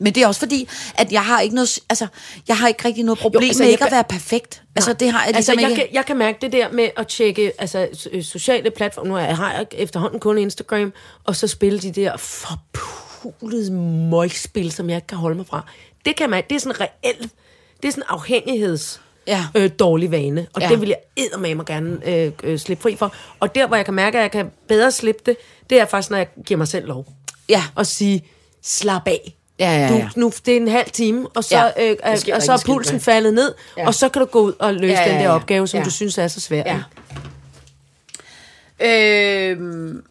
[SPEAKER 4] Men det er også fordi, at jeg har ikke noget, altså, jeg har ikke rigtig noget problem jo,
[SPEAKER 3] altså,
[SPEAKER 4] altså, med
[SPEAKER 3] jeg
[SPEAKER 4] ikke at
[SPEAKER 3] kan-
[SPEAKER 4] være perfekt. Altså, det har jeg
[SPEAKER 3] altså,
[SPEAKER 4] ligesom
[SPEAKER 3] jeg,
[SPEAKER 4] ikke.
[SPEAKER 3] kan, jeg kan mærke det der med at tjekke altså, s- øh, sociale platforme. Nu har jeg- har jeg efterhånden kun Instagram, og så spille de der forpulede møgspil, som jeg ikke kan holde mig fra. Det kan man, det er sådan reelt, det er sådan afhængigheds
[SPEAKER 4] Ja.
[SPEAKER 3] øh, dårlig vane, og
[SPEAKER 4] Ja.
[SPEAKER 3] ja. det vil jeg eddermame gerne øh, øh, slippe fri for. Og der, hvor jeg kan mærke, at jeg kan bedre slippe det, det er faktisk, når jeg giver mig selv lov.
[SPEAKER 4] Ja.
[SPEAKER 3] Og sige, slap af.
[SPEAKER 4] Ja, ja, ja.
[SPEAKER 3] Du, nu, det er en halv time, og så,
[SPEAKER 4] Ja,
[SPEAKER 3] ja,
[SPEAKER 4] det
[SPEAKER 3] øh,
[SPEAKER 4] sker rigtig
[SPEAKER 3] og så er
[SPEAKER 4] skidt,
[SPEAKER 3] pulsen
[SPEAKER 4] ja.
[SPEAKER 3] faldet ned,
[SPEAKER 4] Ja.
[SPEAKER 3] ja. og så kan du gå ud og løse
[SPEAKER 4] Ja,
[SPEAKER 3] ja,
[SPEAKER 4] ja,
[SPEAKER 3] ja, den der
[SPEAKER 4] ja.
[SPEAKER 3] opgave, som
[SPEAKER 4] Ja.
[SPEAKER 3] ja. du synes er så svær.
[SPEAKER 4] Ja.
[SPEAKER 3] Ja.
[SPEAKER 4] Øhm,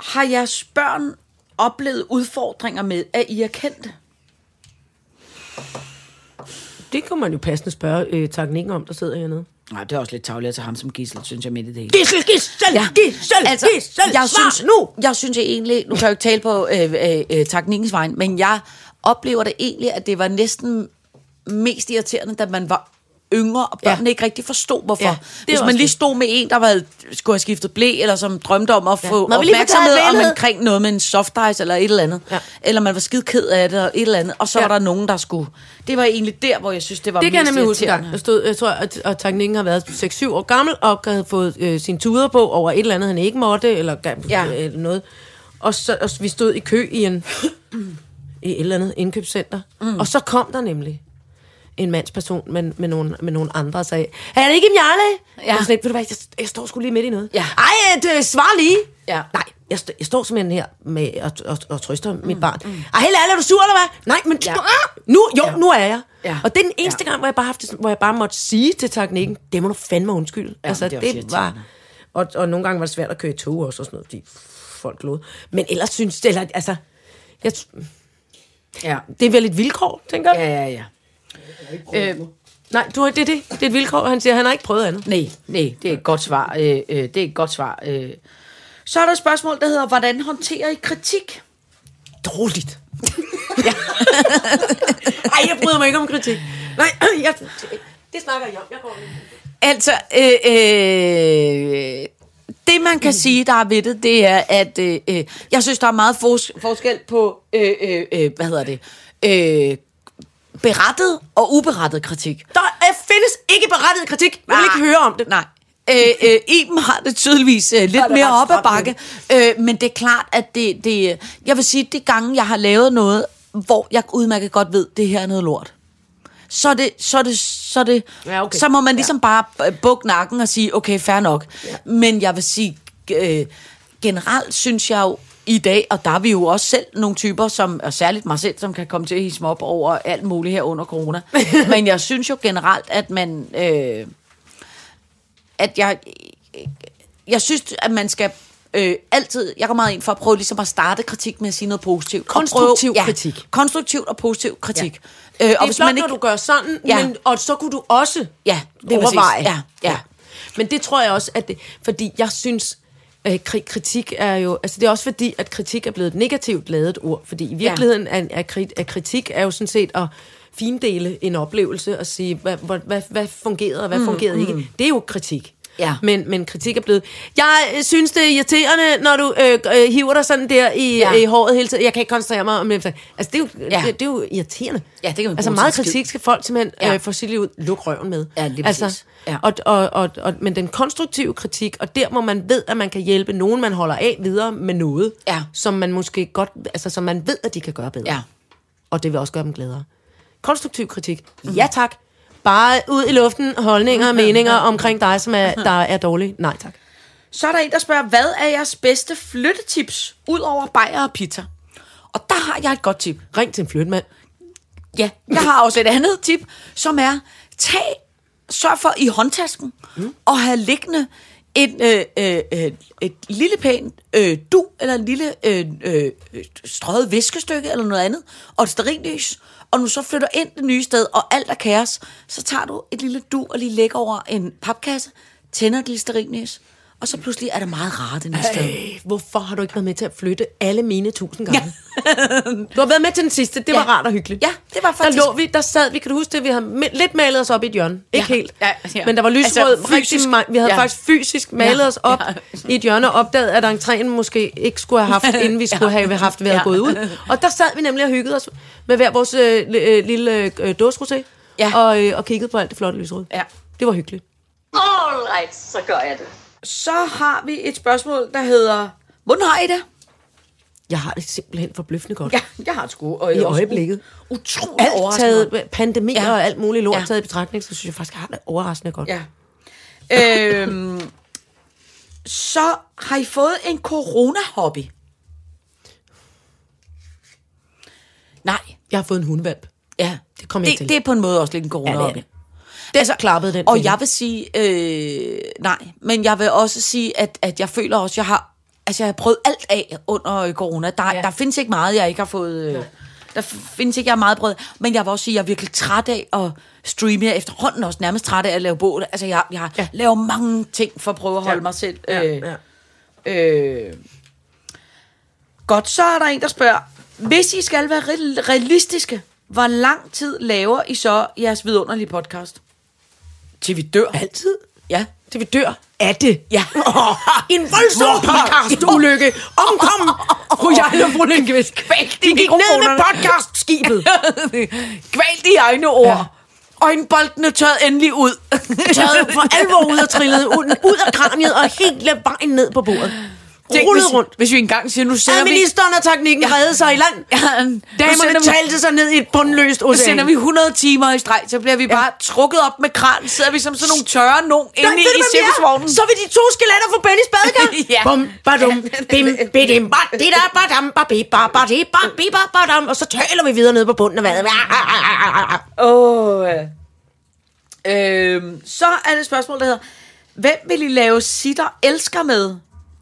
[SPEAKER 4] har jeres børn oplevet udfordringer med, at I er kendte?
[SPEAKER 3] Det kunne man jo passende spørge øh, teknikken om, der sidder hernede.
[SPEAKER 4] Nej, det er også lidt tavligt til ham som gissel, synes jeg midt i det hele.
[SPEAKER 3] Gissel, gissel, ja. gissel, altså, gissel,
[SPEAKER 4] jeg
[SPEAKER 3] svar
[SPEAKER 4] synes,
[SPEAKER 3] nu!
[SPEAKER 4] Jeg synes jeg egentlig, nu kan jeg jo ikke tale på øh, øh, øh, teknikkens vej, men jeg oplever det egentlig, at det var næsten mest irriterende, da man var yngre, og børnene ja.
[SPEAKER 3] Ja.
[SPEAKER 4] ikke rigtig forstod, hvorfor.
[SPEAKER 3] Ja,
[SPEAKER 4] Ja,
[SPEAKER 3] det er
[SPEAKER 4] Hvis man
[SPEAKER 3] også
[SPEAKER 4] lige
[SPEAKER 3] det.
[SPEAKER 4] stod med en, der var, skulle have skiftet blæ, eller som drømte om at få ja.
[SPEAKER 3] Man vil lige få taget
[SPEAKER 4] opmærksomhed
[SPEAKER 3] et
[SPEAKER 4] om
[SPEAKER 3] billede.
[SPEAKER 4] omkring noget med en soft ice eller et eller andet, ja.
[SPEAKER 3] Ja.
[SPEAKER 4] eller man var skide ked af det, og et eller andet, og så ja.
[SPEAKER 3] Ja.
[SPEAKER 4] var der nogen, der skulle... Det var egentlig der, hvor jeg synes, det var
[SPEAKER 3] Det kan jeg
[SPEAKER 4] mest
[SPEAKER 3] nemlig huske en gang.
[SPEAKER 4] irriterende.
[SPEAKER 3] Jeg, stod, jeg tror, at, at teknikken har været 6-7 år gammel, og havde fået øh, sin tuder på over et eller andet, han ikke måtte, eller ga-
[SPEAKER 4] Ja.
[SPEAKER 3] øh, noget. Og så og s- vi stod i kø i, en, i et eller andet indkøbscenter. Mm. Og så kom der nemlig en mandsperson med, med, nogle, med nogle andre og sagde, er det ikke Mjarle?
[SPEAKER 4] Ja.
[SPEAKER 3] Ja. Og sådan, lidt, ved du hvad, jeg, jeg står sgu lige midt i noget.
[SPEAKER 4] Ja.
[SPEAKER 3] Ej, øh, det, svar lige.
[SPEAKER 4] Ja.
[SPEAKER 3] Nej, jeg, st- jeg står simpelthen her med og, og, og trøster mm, mit barn. Mm. Ej, helt ærligt, er du sur eller hvad? Nej, men
[SPEAKER 4] Ja.
[SPEAKER 3] ja. nu, jo, ja. nu er jeg.
[SPEAKER 4] Ja.
[SPEAKER 3] Ja. Og det er den eneste ja. gang, hvor jeg bare, har haft det, sådan, hvor jeg bare måtte sige til teknikken, det må du fandme undskylde. Ja, altså,
[SPEAKER 4] det er
[SPEAKER 3] det,
[SPEAKER 4] også
[SPEAKER 3] det var... Og, og nogle gange var det svært at køre i tog også, og sådan noget, fordi folk lod. Men ellers synes det, eller, altså... Jeg,
[SPEAKER 4] Ja,
[SPEAKER 3] det er vel et vilkår, tænker jeg. Ja.
[SPEAKER 4] ja, ja. ja. Øh,
[SPEAKER 3] Nej, du, har- det er det. Det er et vilkår, han siger. Han har ikke prøvet andet.
[SPEAKER 4] Nej, nej, det er et godt svar. Øh, øh, det er et godt svar. Øh. Så er der et spørgsmål, der hedder, hvordan håndterer I kritik?
[SPEAKER 3] Dårligt. ja. Ej, jeg bryder mig ikke om kritik. Nej, jeg, det snakker jeg om. Jeg går lige.
[SPEAKER 4] Altså, øh, øh, det man kan sige, der er ved det, det er, at øh, øh, jeg synes, der er meget fors- forskel på, øh, øh, øh, hvad hedder det, øh, berettet og uberettet kritik.
[SPEAKER 3] Der er, øh, findes ikke berettiget kritik. Jeg vil
[SPEAKER 4] Nej.
[SPEAKER 3] ikke høre om det.
[SPEAKER 4] Nej. Øh, øh, Iben har det tydeligvis øh, lidt
[SPEAKER 3] det
[SPEAKER 4] mere
[SPEAKER 3] ret
[SPEAKER 4] op ad
[SPEAKER 3] stramt
[SPEAKER 4] bakke, øh, men det er klart, at det, det, øh, jeg vil sige, de gange, jeg har lavet noget, hvor jeg udmærket godt ved, det her er noget lort, så er det, så er det, så er det,
[SPEAKER 3] Ja, okay.
[SPEAKER 4] så må man ligesom bare øh, bukke nakken og sige, okay, fair nok. Ja. Men jeg vil sige, øh, generelt synes jeg jo, i dag, og der er vi jo også selv nogle typer, som, og særligt mig selv, som kan komme til at hisse mig op over alt muligt her under corona. Men jeg synes jo generelt, at man... Øh, at jeg, jeg synes, at man skal øh, altid, jeg går meget ind for at prøve ligesom at starte kritik med at sige noget positivt. Og prøve-
[SPEAKER 3] Konstruktiv kritik.
[SPEAKER 4] Konstruktivt og positiv kritik. Ja. Øh,
[SPEAKER 3] Det er flot, når du gør sådan,
[SPEAKER 4] Ja.
[SPEAKER 3] ja. men, og så kunne du også
[SPEAKER 4] Ja, det er
[SPEAKER 3] overveje.
[SPEAKER 4] præcis. Ja, ja.
[SPEAKER 3] Men det tror jeg også, at det, fordi jeg synes, øh, kri- kritik er jo... Altså det er også fordi, at kritik er blevet et negativt lavet ord, fordi i virkeligheden ja. er, er, kri- er kritik er jo sådan set at findele en oplevelse og sige, hvad, hvad, hvad, hvad fungerede og hvad mm, fungerede ikke. Det er jo kritik.
[SPEAKER 4] Ja.
[SPEAKER 3] Men, men kritik er blevet... Jeg øh, synes, det er irriterende, når du øh, øh, hiver dig sådan der i,
[SPEAKER 4] Ja.
[SPEAKER 3] ja. i håret hele tiden. Jeg kan ikke koncentrere mig om det. Altså, det er jo,
[SPEAKER 4] Ja.
[SPEAKER 3] ja. det, det er jo irriterende.
[SPEAKER 4] Ja, det kan man
[SPEAKER 3] Altså
[SPEAKER 4] bruge
[SPEAKER 3] meget
[SPEAKER 4] til en skid.
[SPEAKER 3] kritik skal folk simpelthen
[SPEAKER 4] Ja.
[SPEAKER 3] ja. øh, få sit liv ud. Luk røven med.
[SPEAKER 4] Ja, lige
[SPEAKER 3] altså,
[SPEAKER 4] præcis. Ja.
[SPEAKER 3] Og, og, og, og, men den konstruktive kritik, og der hvor man ved, at man kan hjælpe nogen, man holder af videre med noget,
[SPEAKER 4] Ja.
[SPEAKER 3] som man måske godt, altså som man ved, at de kan gøre bedre.
[SPEAKER 4] Ja.
[SPEAKER 3] Og det vil også gøre dem gladere. Konstruktiv kritik.
[SPEAKER 4] Mhm.
[SPEAKER 3] Ja tak. Bare ud i luften, holdninger og meninger omkring dig, som er, der er dårlige. Nej tak.
[SPEAKER 4] Så er der en, der spørger, hvad er jeres bedste flyttetips, ud over bajer og pizza? Og der har jeg et godt tip.
[SPEAKER 3] Ring til en flytmand.
[SPEAKER 4] Ja, jeg har også et andet tip, som er, tag, sørg for i håndtasken mm. at have liggende et, øh, øh, øh, et lille pænt øh, du, eller en lille øh, øh, strøget viskestykke, eller noget andet, og et sterillys, og nu så flytter ind det nye sted, og alt er kaos, så tager du et lille du og lige lægger over en papkasse, tænder et lille sterillys, og så pludselig er det meget rart det nye sted.
[SPEAKER 3] Øh, hvorfor har du ikke været med til at flytte alle mine tusind gange? Ja. du har været med til den sidste. Det var
[SPEAKER 4] Ja.
[SPEAKER 3] ja. rart og hyggeligt.
[SPEAKER 4] Ja, det var faktisk-
[SPEAKER 3] Der lå vi, der sad vi, kan du huske det? Vi havde ma- lidt malet os op i et hjørne. Ikke
[SPEAKER 4] Ja.
[SPEAKER 3] helt.
[SPEAKER 4] Ja, ja.
[SPEAKER 3] Men der var lysrød
[SPEAKER 4] Altså,
[SPEAKER 3] altså,
[SPEAKER 4] fysisk.
[SPEAKER 3] rigtig mange. Vi havde
[SPEAKER 4] Ja.
[SPEAKER 3] ja. faktisk fysisk malet
[SPEAKER 4] Ja.
[SPEAKER 3] os op
[SPEAKER 4] Ja.
[SPEAKER 3] ja. i et hjørne og opdaget, at entréen måske ikke skulle have haft, inden vi skulle have haft været
[SPEAKER 4] Ja.
[SPEAKER 3] ja. gået ud. Og der sad vi nemlig og hyggede os med hver vores øh, li- øh, lille øh, dåsrosé
[SPEAKER 4] Ja.
[SPEAKER 3] og, øh, og kiggede på alt det flotte lysrød.
[SPEAKER 4] Ja.
[SPEAKER 3] Det var hyggeligt.
[SPEAKER 2] Alright, så gør jeg det.
[SPEAKER 4] Så har vi et spørgsmål, der hedder, hvordan har I det?
[SPEAKER 3] Jeg har det simpelthen forbløffende godt.
[SPEAKER 4] Ja, jeg har det sgu. Og jeg
[SPEAKER 3] I
[SPEAKER 4] er også
[SPEAKER 3] øjeblikket.
[SPEAKER 4] u- Utrolig
[SPEAKER 3] alt
[SPEAKER 4] overraskende. godt.
[SPEAKER 3] taget, pandemier
[SPEAKER 4] Ja.
[SPEAKER 3] ja. og alt muligt lort
[SPEAKER 4] Ja.
[SPEAKER 3] ja. taget i betragtning, så synes jeg faktisk, at jeg har det overraskende godt.
[SPEAKER 4] Ja. øhm, så har I fået en corona-hobby? Nej.
[SPEAKER 3] Jeg har fået en hundvalp.
[SPEAKER 4] Ja,
[SPEAKER 3] Det kom jeg
[SPEAKER 4] det,
[SPEAKER 3] til.
[SPEAKER 4] det er på en måde også lidt en corona-hobby.
[SPEAKER 3] Ja, det Den altså, klappede den.
[SPEAKER 4] Og
[SPEAKER 3] finde.
[SPEAKER 4] jeg vil sige, øh, nej, men jeg vil også sige, at, at jeg føler også, jeg har, altså jeg har prøvet alt af under øh, corona. Der, ja.
[SPEAKER 3] Ja.
[SPEAKER 4] der findes ikke meget, jeg ikke har fået... Øh, der findes ikke, jeg har meget brød, men jeg vil også sige, at jeg er virkelig træt af at streame. Jeg er efterhånden også nærmest træt af at lave bål. Altså, jeg, jeg ja.
[SPEAKER 3] Ja.
[SPEAKER 4] laver mange ting for at prøve at holde ja.
[SPEAKER 3] Ja.
[SPEAKER 4] mig selv.
[SPEAKER 3] Ja,
[SPEAKER 4] Øh,
[SPEAKER 3] ja.
[SPEAKER 4] Øh. Godt, så er der en, der spørger. Hvis I skal være re- realistiske, hvor lang tid laver I så jeres vidunderlige podcast? Til vi dør.
[SPEAKER 3] Altid.
[SPEAKER 4] Ja.
[SPEAKER 3] Til vi dør. Er det?
[SPEAKER 4] Ja.
[SPEAKER 3] en voldsom podcast-ulykke. Omkom fru Jarl og fru Lindqvist. De gik ned med
[SPEAKER 4] mikrofonerne.
[SPEAKER 3] podcast-skibet.
[SPEAKER 4] Kvæl de egne ord. Ja.
[SPEAKER 3] Ja.
[SPEAKER 4] Øjenboldene tørrede endelig ud.
[SPEAKER 3] Taget for alvor ud og trillede ud, ud af kraniet og hele vejen ned på bordet. Rullet
[SPEAKER 4] hvis,
[SPEAKER 3] rundt.
[SPEAKER 4] Hvis vi engang siger, nu sender vi,
[SPEAKER 3] Administeren og teknikken ja. reddede sig i land.
[SPEAKER 4] Ja, nu sender
[SPEAKER 3] Damerne
[SPEAKER 4] vi-
[SPEAKER 3] talte sig ned i et bundløst
[SPEAKER 4] nu
[SPEAKER 3] ocean.
[SPEAKER 4] sender vi 100 timer i streg, så bliver vi bare trukket op med kran. Sidder vi som sådan nogle tørre nogen
[SPEAKER 3] Nej,
[SPEAKER 4] inde i
[SPEAKER 3] ved du, hvem vi er?
[SPEAKER 4] cirkusvognen.
[SPEAKER 3] Så vil de to skeletter fra Bennys badekar.
[SPEAKER 4] Ja.
[SPEAKER 3] Bum, badum, bim, bidim, badida, badam, babi, babadi, babi, babadam. Og så taler vi videre ned på bunden af vandet. Ah,
[SPEAKER 4] Åh. Oh, øhm, så er det et spørgsmål, der hedder, hvem vil I lave sitter elsker med?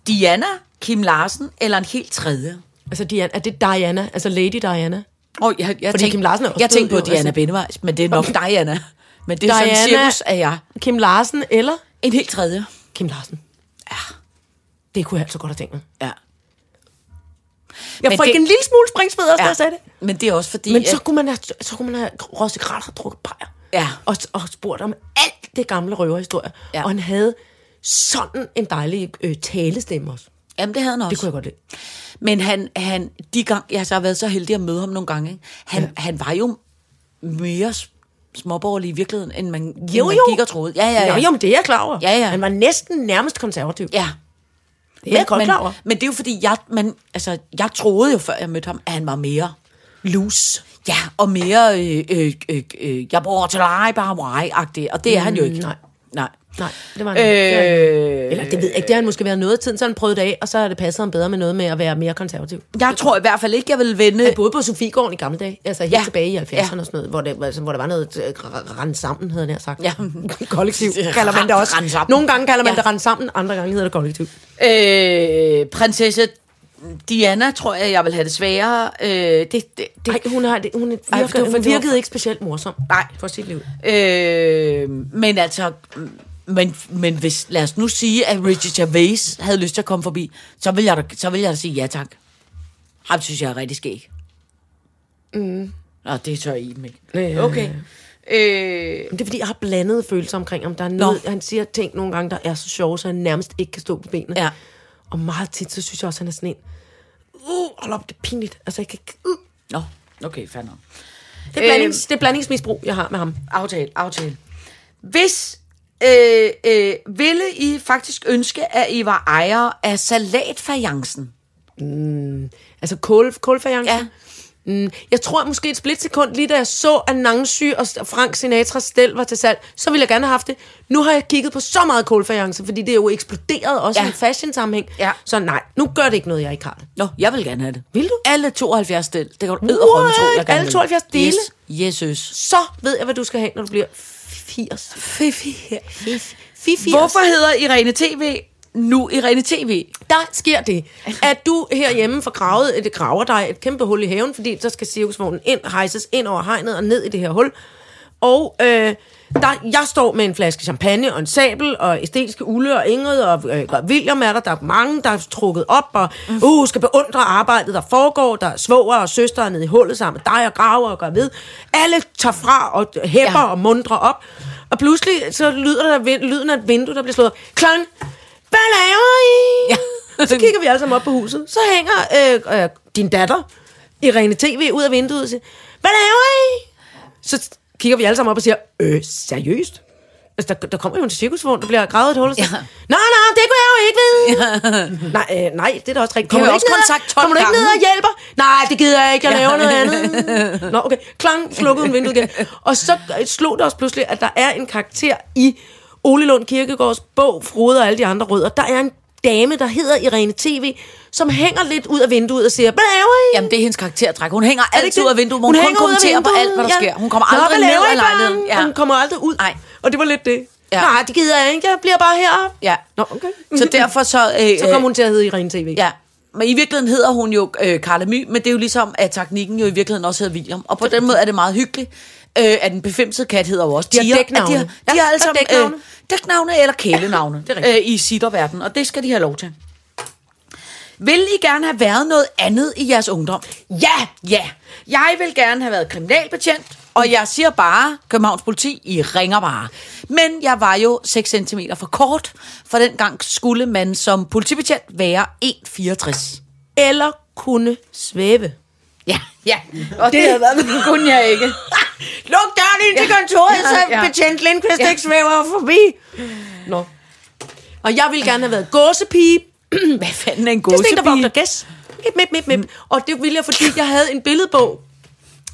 [SPEAKER 4] Diana, Kim Larsen eller en helt tredje?
[SPEAKER 3] Altså, Diana, er det Diana? Altså, Lady Diana?
[SPEAKER 4] Åh, oh, jeg, jeg
[SPEAKER 3] Fordi Kim Larsen er også
[SPEAKER 4] jeg
[SPEAKER 3] død,
[SPEAKER 4] tænkte på
[SPEAKER 3] jo,
[SPEAKER 4] Diana
[SPEAKER 3] altså.
[SPEAKER 4] Benevejs, men det er nok Diana. Men det er Diana. sådan
[SPEAKER 3] Diana-
[SPEAKER 4] cirkus af jeg.
[SPEAKER 3] Kim Larsen eller
[SPEAKER 4] En helt tredje.
[SPEAKER 3] Kim Larsen? Ja. Det kunne jeg altså godt have tænkt mig.
[SPEAKER 4] Ja.
[SPEAKER 3] Jeg
[SPEAKER 4] Men
[SPEAKER 3] får
[SPEAKER 4] det-
[SPEAKER 3] ikke en lille smule springspid også, da jeg sagde det.
[SPEAKER 4] Men det er også fordi...
[SPEAKER 3] Men
[SPEAKER 4] at-
[SPEAKER 3] så kunne man have, så kunne man have Rosse Kral har drukket pejer.
[SPEAKER 4] Ja.
[SPEAKER 3] Og, og spurgt om alt det gamle røverhistorie.
[SPEAKER 4] Ja.
[SPEAKER 3] Ja. Og han havde sådan en dejlig øh, talestemme også.
[SPEAKER 4] Jamen, det havde han også.
[SPEAKER 3] Det kunne jeg godt lide.
[SPEAKER 4] Men han, han de gang, jeg så har været så heldig at møde ham nogle gange, ikke? Han, ja. han var jo mere s- småborgerlig i virkeligheden, end man, jo, end man gik og troede. Ja, ja, ja.
[SPEAKER 3] Jo, jo, men det er jeg klar over.
[SPEAKER 4] Ja, ja.
[SPEAKER 3] Han var næsten nærmest konservativ.
[SPEAKER 4] ja.
[SPEAKER 3] det er jeg godt
[SPEAKER 4] men,
[SPEAKER 3] klar over.
[SPEAKER 4] men det er jo fordi, jeg, man, altså, jeg troede jo, før jeg mødte ham, at han var mere loose. Ja, og mere, øh, øh, øh, øh, jeg bor til dig, bare mig-agtig. Og det er han jo ikke. Mm, Nej. Nej.
[SPEAKER 3] Nej, det var han ikke. Det var han ikke.
[SPEAKER 4] Øh,
[SPEAKER 3] Eller det ved jeg ikke, det har han måske været noget tid, så har han prøvet det af, og så har det passet ham bedre med noget med at være mere konservativ.
[SPEAKER 4] jeg tror i hvert fald ikke, jeg vil vende...
[SPEAKER 3] Jeg boede på Sofiegården i gamle dage, altså helt ja.
[SPEAKER 4] Ja.
[SPEAKER 3] tilbage i 70'erne ja. og
[SPEAKER 4] Ja.
[SPEAKER 3] sådan noget, hvor, det, altså, hvor der var noget øh, r- rend sammen, havde jeg nær sagt. Ja, kollektiv
[SPEAKER 4] kalder man det også.
[SPEAKER 3] Rend sammen. Nogle gange kalder man ja.
[SPEAKER 4] Ja.
[SPEAKER 3] det rend sammen, andre gange hedder det kollektiv.
[SPEAKER 4] Øh, prinsesse Diana, tror jeg, jeg vil have det sværere. Øh, det, det, det,
[SPEAKER 3] Nej, hun, har, det, hun, virker,
[SPEAKER 4] Ej, det var-
[SPEAKER 3] hun
[SPEAKER 4] det var-
[SPEAKER 3] virkede ikke specielt morsom
[SPEAKER 4] Nej.
[SPEAKER 3] for sit liv.
[SPEAKER 4] Øh, men altså, men, men hvis, lad os nu sige, at Richard Gervais havde lyst til at komme forbi, så vil jeg da, så vil jeg da sige ja tak. Ham synes jeg er rigtig skæg. Mm. Nå, det tør I dem ikke.
[SPEAKER 3] Ja.
[SPEAKER 4] Okay. Øh,
[SPEAKER 3] Men det er fordi, jeg har blandede følelser omkring ham. Der er noget, han siger ting nogle gange, der er så sjove, så han nærmest ikke kan stå på benene.
[SPEAKER 4] Ja.
[SPEAKER 3] Og meget tit, så synes jeg også, han er sådan en... Uh, hold op, det er pinligt. Altså, jeg kan ikke... Uh.
[SPEAKER 4] nå, okay, fandme.
[SPEAKER 3] Det, er blandings, det er blandingsmisbrug, jeg har med ham.
[SPEAKER 4] Aftale, aftale. Hvis øh, øh, ville I faktisk ønske, at I var ejer af salatfajancen?
[SPEAKER 3] Altså kål, kålfajancen.
[SPEAKER 4] Ja.
[SPEAKER 3] Mm, jeg tror måske et splitsekund, lige da jeg så, at Nancy og Frank Sinatra stel var til salg, så ville jeg gerne have haft det. Nu har jeg kigget på så meget kålfajance, fordi det er jo eksploderet også ja.
[SPEAKER 4] Ja.
[SPEAKER 3] i en fashion-sammenhæng.
[SPEAKER 4] Ja.
[SPEAKER 3] Så nej, nu gør det ikke noget, jeg ikke har det.
[SPEAKER 4] Nå, jeg vil gerne have det.
[SPEAKER 3] Vil du?
[SPEAKER 4] Alle 72 del. Det kan du edderrømme tro, jeg
[SPEAKER 3] What?
[SPEAKER 4] gerne
[SPEAKER 3] Alle
[SPEAKER 4] vil.
[SPEAKER 3] 72 dele?
[SPEAKER 4] Yes, yes.
[SPEAKER 3] Så ved jeg, hvad du skal have, når du bliver 80.
[SPEAKER 4] Fifi.
[SPEAKER 3] Fifi.
[SPEAKER 4] Hvorfor hedder Irene TV nu Irene TV?
[SPEAKER 3] Der sker det, at du herhjemme får gravet, det graver dig et kæmpe hul i haven, fordi så skal cirkusvognen ind, hejses ind over hegnet og ned i det her hul. Og øh, der, jeg står med en flaske champagne og en sabel og æstetiske ulde og Ingrid og, øh, og William er der. Der er mange, der er trukket op og uh, skal beundre arbejdet, der foregår. Der er svoger og søstre nede i hullet sammen med dig og graver og gør ved. Alle tager fra og hæpper ja.
[SPEAKER 4] Ja.
[SPEAKER 3] og mundrer op. Og pludselig så lyder der vin- lyden af et vindue, der bliver slået op. Klang! Hvad laver I? Ja. så kigger vi alle sammen op på huset. Så hænger øh, øh, din datter, Irene TV, ud af vinduet og siger, hvad laver I? så kigger vi alle sammen op og siger, øh, seriøst? Altså, der, der kommer jo en cirkusvogn, der bliver gravet et hul. Ja.
[SPEAKER 4] Ja.
[SPEAKER 3] Nej, nej, det kunne jeg jo ikke vide. Ja. Nej, øh, nej, det er da også rigtigt.
[SPEAKER 4] Det
[SPEAKER 3] Kommer
[SPEAKER 4] har
[SPEAKER 3] du
[SPEAKER 4] jeg også
[SPEAKER 3] ikke
[SPEAKER 4] kun
[SPEAKER 3] ned og-
[SPEAKER 4] sagt 12
[SPEAKER 3] Kommer du ikke
[SPEAKER 4] gange.
[SPEAKER 3] ned og hjælper? Nej, det gider jeg ikke, jeg laver noget andet. Nå, okay. Klang, slukkede en vindue igen. Og så øh, slog det os pludselig, at der er en karakter i Ole Lund Kirkegaards bog, Frode og alle de andre rødder. Der er en dame, der hedder Irene TV, som hænger lidt ud af vinduet og siger, hvad laver I?
[SPEAKER 4] Jamen, det er hendes karaktertræk. Hun hænger
[SPEAKER 3] Er det
[SPEAKER 4] altid
[SPEAKER 3] ikke
[SPEAKER 4] ud af
[SPEAKER 3] det?
[SPEAKER 4] vinduet, hvor hun, hun kun
[SPEAKER 3] hænger ud af
[SPEAKER 4] kommenterer på
[SPEAKER 3] vinduet,
[SPEAKER 4] alt, hvad
[SPEAKER 3] ja.
[SPEAKER 4] der sker. Hun kommer
[SPEAKER 3] Nå,
[SPEAKER 4] aldrig
[SPEAKER 3] hvad
[SPEAKER 4] ned
[SPEAKER 3] laver
[SPEAKER 4] af
[SPEAKER 3] I
[SPEAKER 4] lejligheden.
[SPEAKER 3] børn? Hun kommer aldrig ud.
[SPEAKER 4] Nej.
[SPEAKER 3] Og det var lidt det. Ja.
[SPEAKER 4] Ja.
[SPEAKER 3] Nej, det gider jeg ikke. Jeg bliver bare heroppe.
[SPEAKER 4] Ja.
[SPEAKER 3] Nå, okay.
[SPEAKER 4] Så derfor så... Øh,
[SPEAKER 3] så kom hun til at hedde Irene TV.
[SPEAKER 4] Ja. Men i virkeligheden hedder hun jo øh, Carla My, men det er jo ligesom, at teknikken jo i virkeligheden også hedder William. Og på den måde er det meget hyggeligt, øh, at den befemsede kat hedder jo også
[SPEAKER 3] De har
[SPEAKER 4] Tia. At
[SPEAKER 3] dæknavne.
[SPEAKER 4] De har,
[SPEAKER 3] Ja,
[SPEAKER 4] de har
[SPEAKER 3] der er
[SPEAKER 4] alle sammen
[SPEAKER 3] dæknavne.
[SPEAKER 4] øh, dæknavne eller kælenavne
[SPEAKER 3] det er
[SPEAKER 4] øh, i sitterverdenen, og det skal de have lov til. Vil I gerne have været noget andet i jeres ungdom? Ja, ja. Jeg vil gerne have været kriminalbetjent, og jeg siger bare, Københavns politi, I ringer bare. Men jeg var jo 6 cm for kort, for dengang skulle man som politibetjent være 1,64.
[SPEAKER 3] Eller kunne svæve.
[SPEAKER 4] Ja, ja. Og det, det været, kunne jeg ikke.
[SPEAKER 3] Luk døren ind til kontoret, så
[SPEAKER 4] Ja, ja.
[SPEAKER 3] betjent Lindqvist
[SPEAKER 4] Ja.
[SPEAKER 3] ikke svæver forbi. Nå. Og jeg ville gerne have været gåsepige.
[SPEAKER 4] Hvad fanden er en
[SPEAKER 3] Det er sådan en, der
[SPEAKER 4] gåsepige?
[SPEAKER 3] vogter gæs. Mip, mip, mip, mip. Mm. Og det ville jeg, fordi jeg havde en billedbog,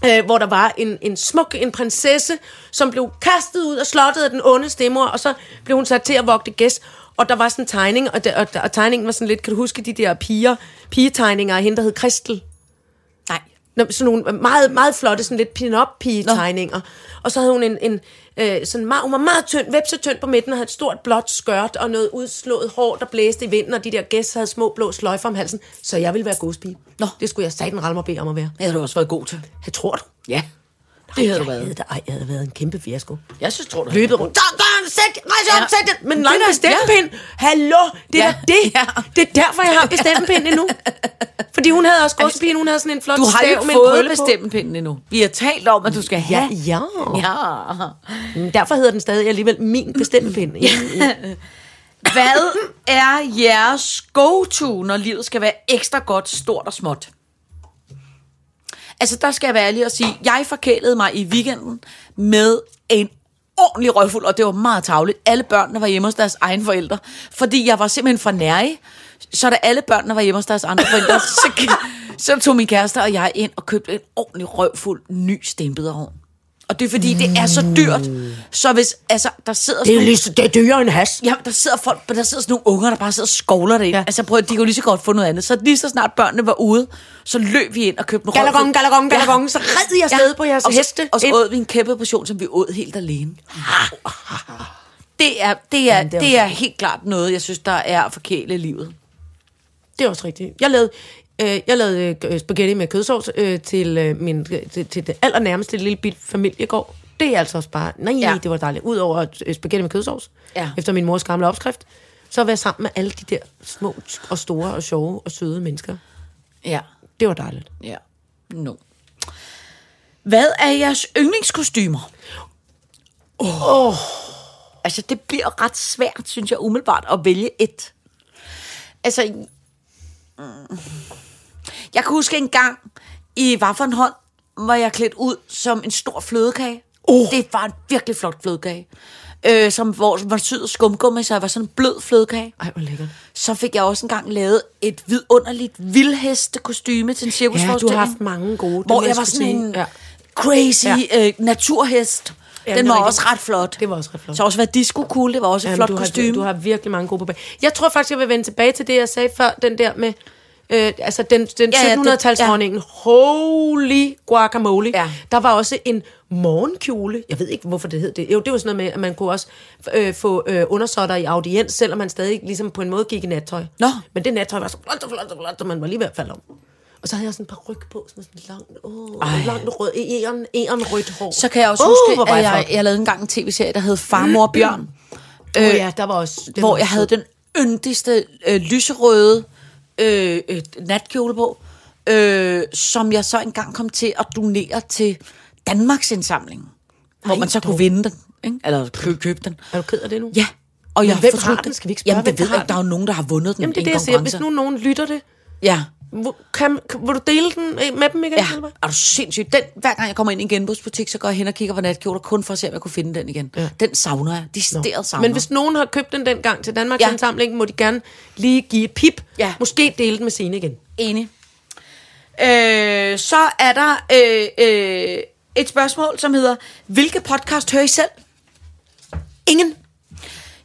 [SPEAKER 3] øh, hvor der var en, en smuk, en prinsesse, som blev kastet ud og slottet af den onde stemmer, og så blev hun sat til at vogte gæs. Og der var sådan en tegning, og, der, og, og tegningen var sådan lidt, kan du huske de der piger, pigetegninger af hende, der hed Kristel?
[SPEAKER 4] Nej.
[SPEAKER 3] Nå, sådan nogle øh, meget, meget flotte, sådan lidt pin up pige tegninger. Og så havde hun en, en øh, sådan meget, hun var meget tynd, vepsetynd på midten, og havde et stort blåt skørt, og noget udslået hår, der blæste i vinden, og de der gæs havde små blå sløjfer om halsen. Så jeg ville være godspige.
[SPEAKER 4] Nå.
[SPEAKER 3] Det skulle jeg satan ramme og bede om at være.
[SPEAKER 4] Det havde du også været god til.
[SPEAKER 3] Jeg tror du?
[SPEAKER 4] Ja. Det havde du
[SPEAKER 3] Jeg havde,
[SPEAKER 4] været.
[SPEAKER 3] da- ej, jeg havde været en kæmpe fiasko.
[SPEAKER 4] Jeg synes, tror du
[SPEAKER 3] Løbet rundt. Så, gør en sæt, rejs op,
[SPEAKER 4] Ja.
[SPEAKER 3] sæt den. Men
[SPEAKER 4] Det
[SPEAKER 3] nej,
[SPEAKER 4] er da-
[SPEAKER 3] bestemmepind. Hallo, det er
[SPEAKER 4] Ja.
[SPEAKER 3] da det.
[SPEAKER 4] Ja.
[SPEAKER 3] Det er derfor, jeg har bestemmepind endnu. Fordi hun havde også godspige, hun havde sådan en flot
[SPEAKER 4] Du har
[SPEAKER 3] stav
[SPEAKER 4] ikke
[SPEAKER 3] med en
[SPEAKER 4] fået
[SPEAKER 3] krølle på.
[SPEAKER 4] bestemmepinden endnu. Vi har talt om, at du skal
[SPEAKER 3] Ja,
[SPEAKER 4] have.
[SPEAKER 3] ja.
[SPEAKER 4] ja.
[SPEAKER 3] Men Derfor hedder den stadig alligevel min bestemmepind. Ja.
[SPEAKER 4] Hvad er jeres go-to, når livet skal være ekstra godt, stort og småt? Altså, der skal jeg være ærlig og sige, jeg forkælede mig i weekenden med en ordentlig røvfuld, og det var meget tavligt. Alle børnene var hjemme hos deres egne forældre, fordi jeg var simpelthen for nærig. Så da alle børnene var hjemme hos deres andre forældre, så, så tog min kæreste og jeg ind og købte en ordentlig røvfuld ny stenbiderhorn. Og det er fordi, det er så dyrt. Så hvis, altså, der sidder...
[SPEAKER 3] Det er jo lige, så- det er dyrere end hash.
[SPEAKER 4] Ja, der sidder folk, der sidder sådan nogle unger, der bare sidder og skovler det. Ja. Altså prøv at, de kunne lige så godt få noget andet. Så lige så snart børnene var ude, så løb vi ind og købte en
[SPEAKER 3] Gallagongen, gallagongen, gallagongen, så red I afsted på jeres
[SPEAKER 4] og så,
[SPEAKER 3] heste
[SPEAKER 4] Og så
[SPEAKER 3] ind.
[SPEAKER 4] åd vi en kæmpe portion, som vi åd helt alene. Det er, det, er,
[SPEAKER 3] Jamen, det er
[SPEAKER 4] det er helt klart noget, jeg synes, der er at forkæle i livet.
[SPEAKER 3] Det er også rigtigt. Jeg lavede, øh, jeg lavede øh, spaghetti med kødsovs øh, til, øh, min, til, til det allernærmeste lille bit familiegård. Det er altså også bare, nej,
[SPEAKER 4] Ja.
[SPEAKER 3] ja. det var dejligt. Udover øh, spaghetti med kødsovs,
[SPEAKER 4] Ja.
[SPEAKER 3] efter min mors gamle opskrift, så var jeg sammen med alle de der små og store og sjove og søde mennesker.
[SPEAKER 4] Ja.
[SPEAKER 3] Det var dejligt.
[SPEAKER 4] Ja. No. Hvad er jeres yndlingskostymer? Oh. Altså, det bliver ret svært, synes jeg, umiddelbart at vælge et. Altså, mm. jeg kan huske en gang i Vafferhånd, hvor jeg klædt ud som en stor flødekage. Oh. Det var en virkelig flot flødekage. Øh, som, hvor som var syd skumgummi, så jeg var sådan en blød flødekage.
[SPEAKER 3] Ej, hvor lækkert.
[SPEAKER 4] Så fik jeg også engang lavet et vidunderligt vildhestekostyme til en cirkusforestilling.
[SPEAKER 3] Ja, du har haft mange gode, det må
[SPEAKER 4] Hvor
[SPEAKER 3] jeg
[SPEAKER 4] jeg var
[SPEAKER 3] skulle
[SPEAKER 4] sådan
[SPEAKER 3] sige.
[SPEAKER 4] en
[SPEAKER 3] Ja.
[SPEAKER 4] ja. crazy ja.
[SPEAKER 3] Ja.
[SPEAKER 4] Øh, naturhest.
[SPEAKER 3] Ja,
[SPEAKER 4] Ja, den
[SPEAKER 3] det er rigtigt.
[SPEAKER 4] var også ret flot.
[SPEAKER 3] Det var også ret flot.
[SPEAKER 4] Så også været disco cool, det var også et flot
[SPEAKER 3] du
[SPEAKER 4] kostume.
[SPEAKER 3] Har, du har virkelig mange gode på bag. Jeg tror faktisk, jeg vil vende tilbage til det, jeg sagde før, den der med... Øh, altså den, den
[SPEAKER 4] Ja, ja,
[SPEAKER 3] 1700-talsdronningen, ja, holy guacamole.
[SPEAKER 4] Ja.
[SPEAKER 3] Der var også en morgenkjole. Jeg ved ikke, hvorfor det hed det. Jo, det var sådan noget med, at man kunne også øh, få øh, undersåtter i audiens, selvom man stadig ligesom på en måde gik i nattøj.
[SPEAKER 4] Nå.
[SPEAKER 3] Men det nattøj var så flot, så flot, så flot, så man var lige ved at falde om. Og så havde jeg sådan et par ryg på, sådan et langt, åh, langt rød, æren, æren rødt hår.
[SPEAKER 4] Så kan jeg også
[SPEAKER 3] Åh, Uh, hvor
[SPEAKER 4] huske,
[SPEAKER 3] var
[SPEAKER 4] at
[SPEAKER 3] flot.
[SPEAKER 4] jeg, jeg lavede engang en tv-serie, der hed Farmor og Bjørn.
[SPEAKER 3] Åh ja, der var også... den
[SPEAKER 4] hvor
[SPEAKER 3] var
[SPEAKER 4] jeg
[SPEAKER 3] også
[SPEAKER 4] havde
[SPEAKER 3] sød.
[SPEAKER 4] den yndigste øh, lyserøde øh, øh, natkjole på, øh, som jeg så engang kom til at donere til Danmarks indsamling, hvor man så
[SPEAKER 3] dog.
[SPEAKER 4] kunne vinde den, ikke? eller kø, købe den.
[SPEAKER 3] Er du ked af det nu?
[SPEAKER 4] Ja, og jeg
[SPEAKER 3] Men hvem
[SPEAKER 4] fortrød
[SPEAKER 3] har den? Skal vi ikke spørge,
[SPEAKER 4] Jamen,
[SPEAKER 3] hvem
[SPEAKER 4] det ved
[SPEAKER 3] har
[SPEAKER 4] jeg ikke. Der er jo nogen, der har vundet den
[SPEAKER 3] Jamen, det er
[SPEAKER 4] i en
[SPEAKER 3] det, jeg siger.
[SPEAKER 4] konkurrence.
[SPEAKER 3] Hvis nu nogen lytter det,
[SPEAKER 4] Ja.
[SPEAKER 3] hvor- kan, kan, vil du dele den øh, med dem igen?
[SPEAKER 4] Ja,
[SPEAKER 3] eller hvad?
[SPEAKER 4] er du sindssyg? Den, hver gang jeg kommer ind i en genbrugsbutik, så går jeg hen og kigger på natkjoler, kun for at se, om jeg kunne finde den igen. Ja. Den savner jeg. De steder savner
[SPEAKER 3] Men hvis nogen har købt den dengang til Danmarks
[SPEAKER 4] Ja.
[SPEAKER 3] ja. Indsamling, må de gerne lige give et pip.
[SPEAKER 4] Ja.
[SPEAKER 3] Måske dele den med sine igen.
[SPEAKER 4] Enig. Øh, så er der øh, øh, et spørgsmål, som hedder, hvilke podcast hører I selv? Ingen.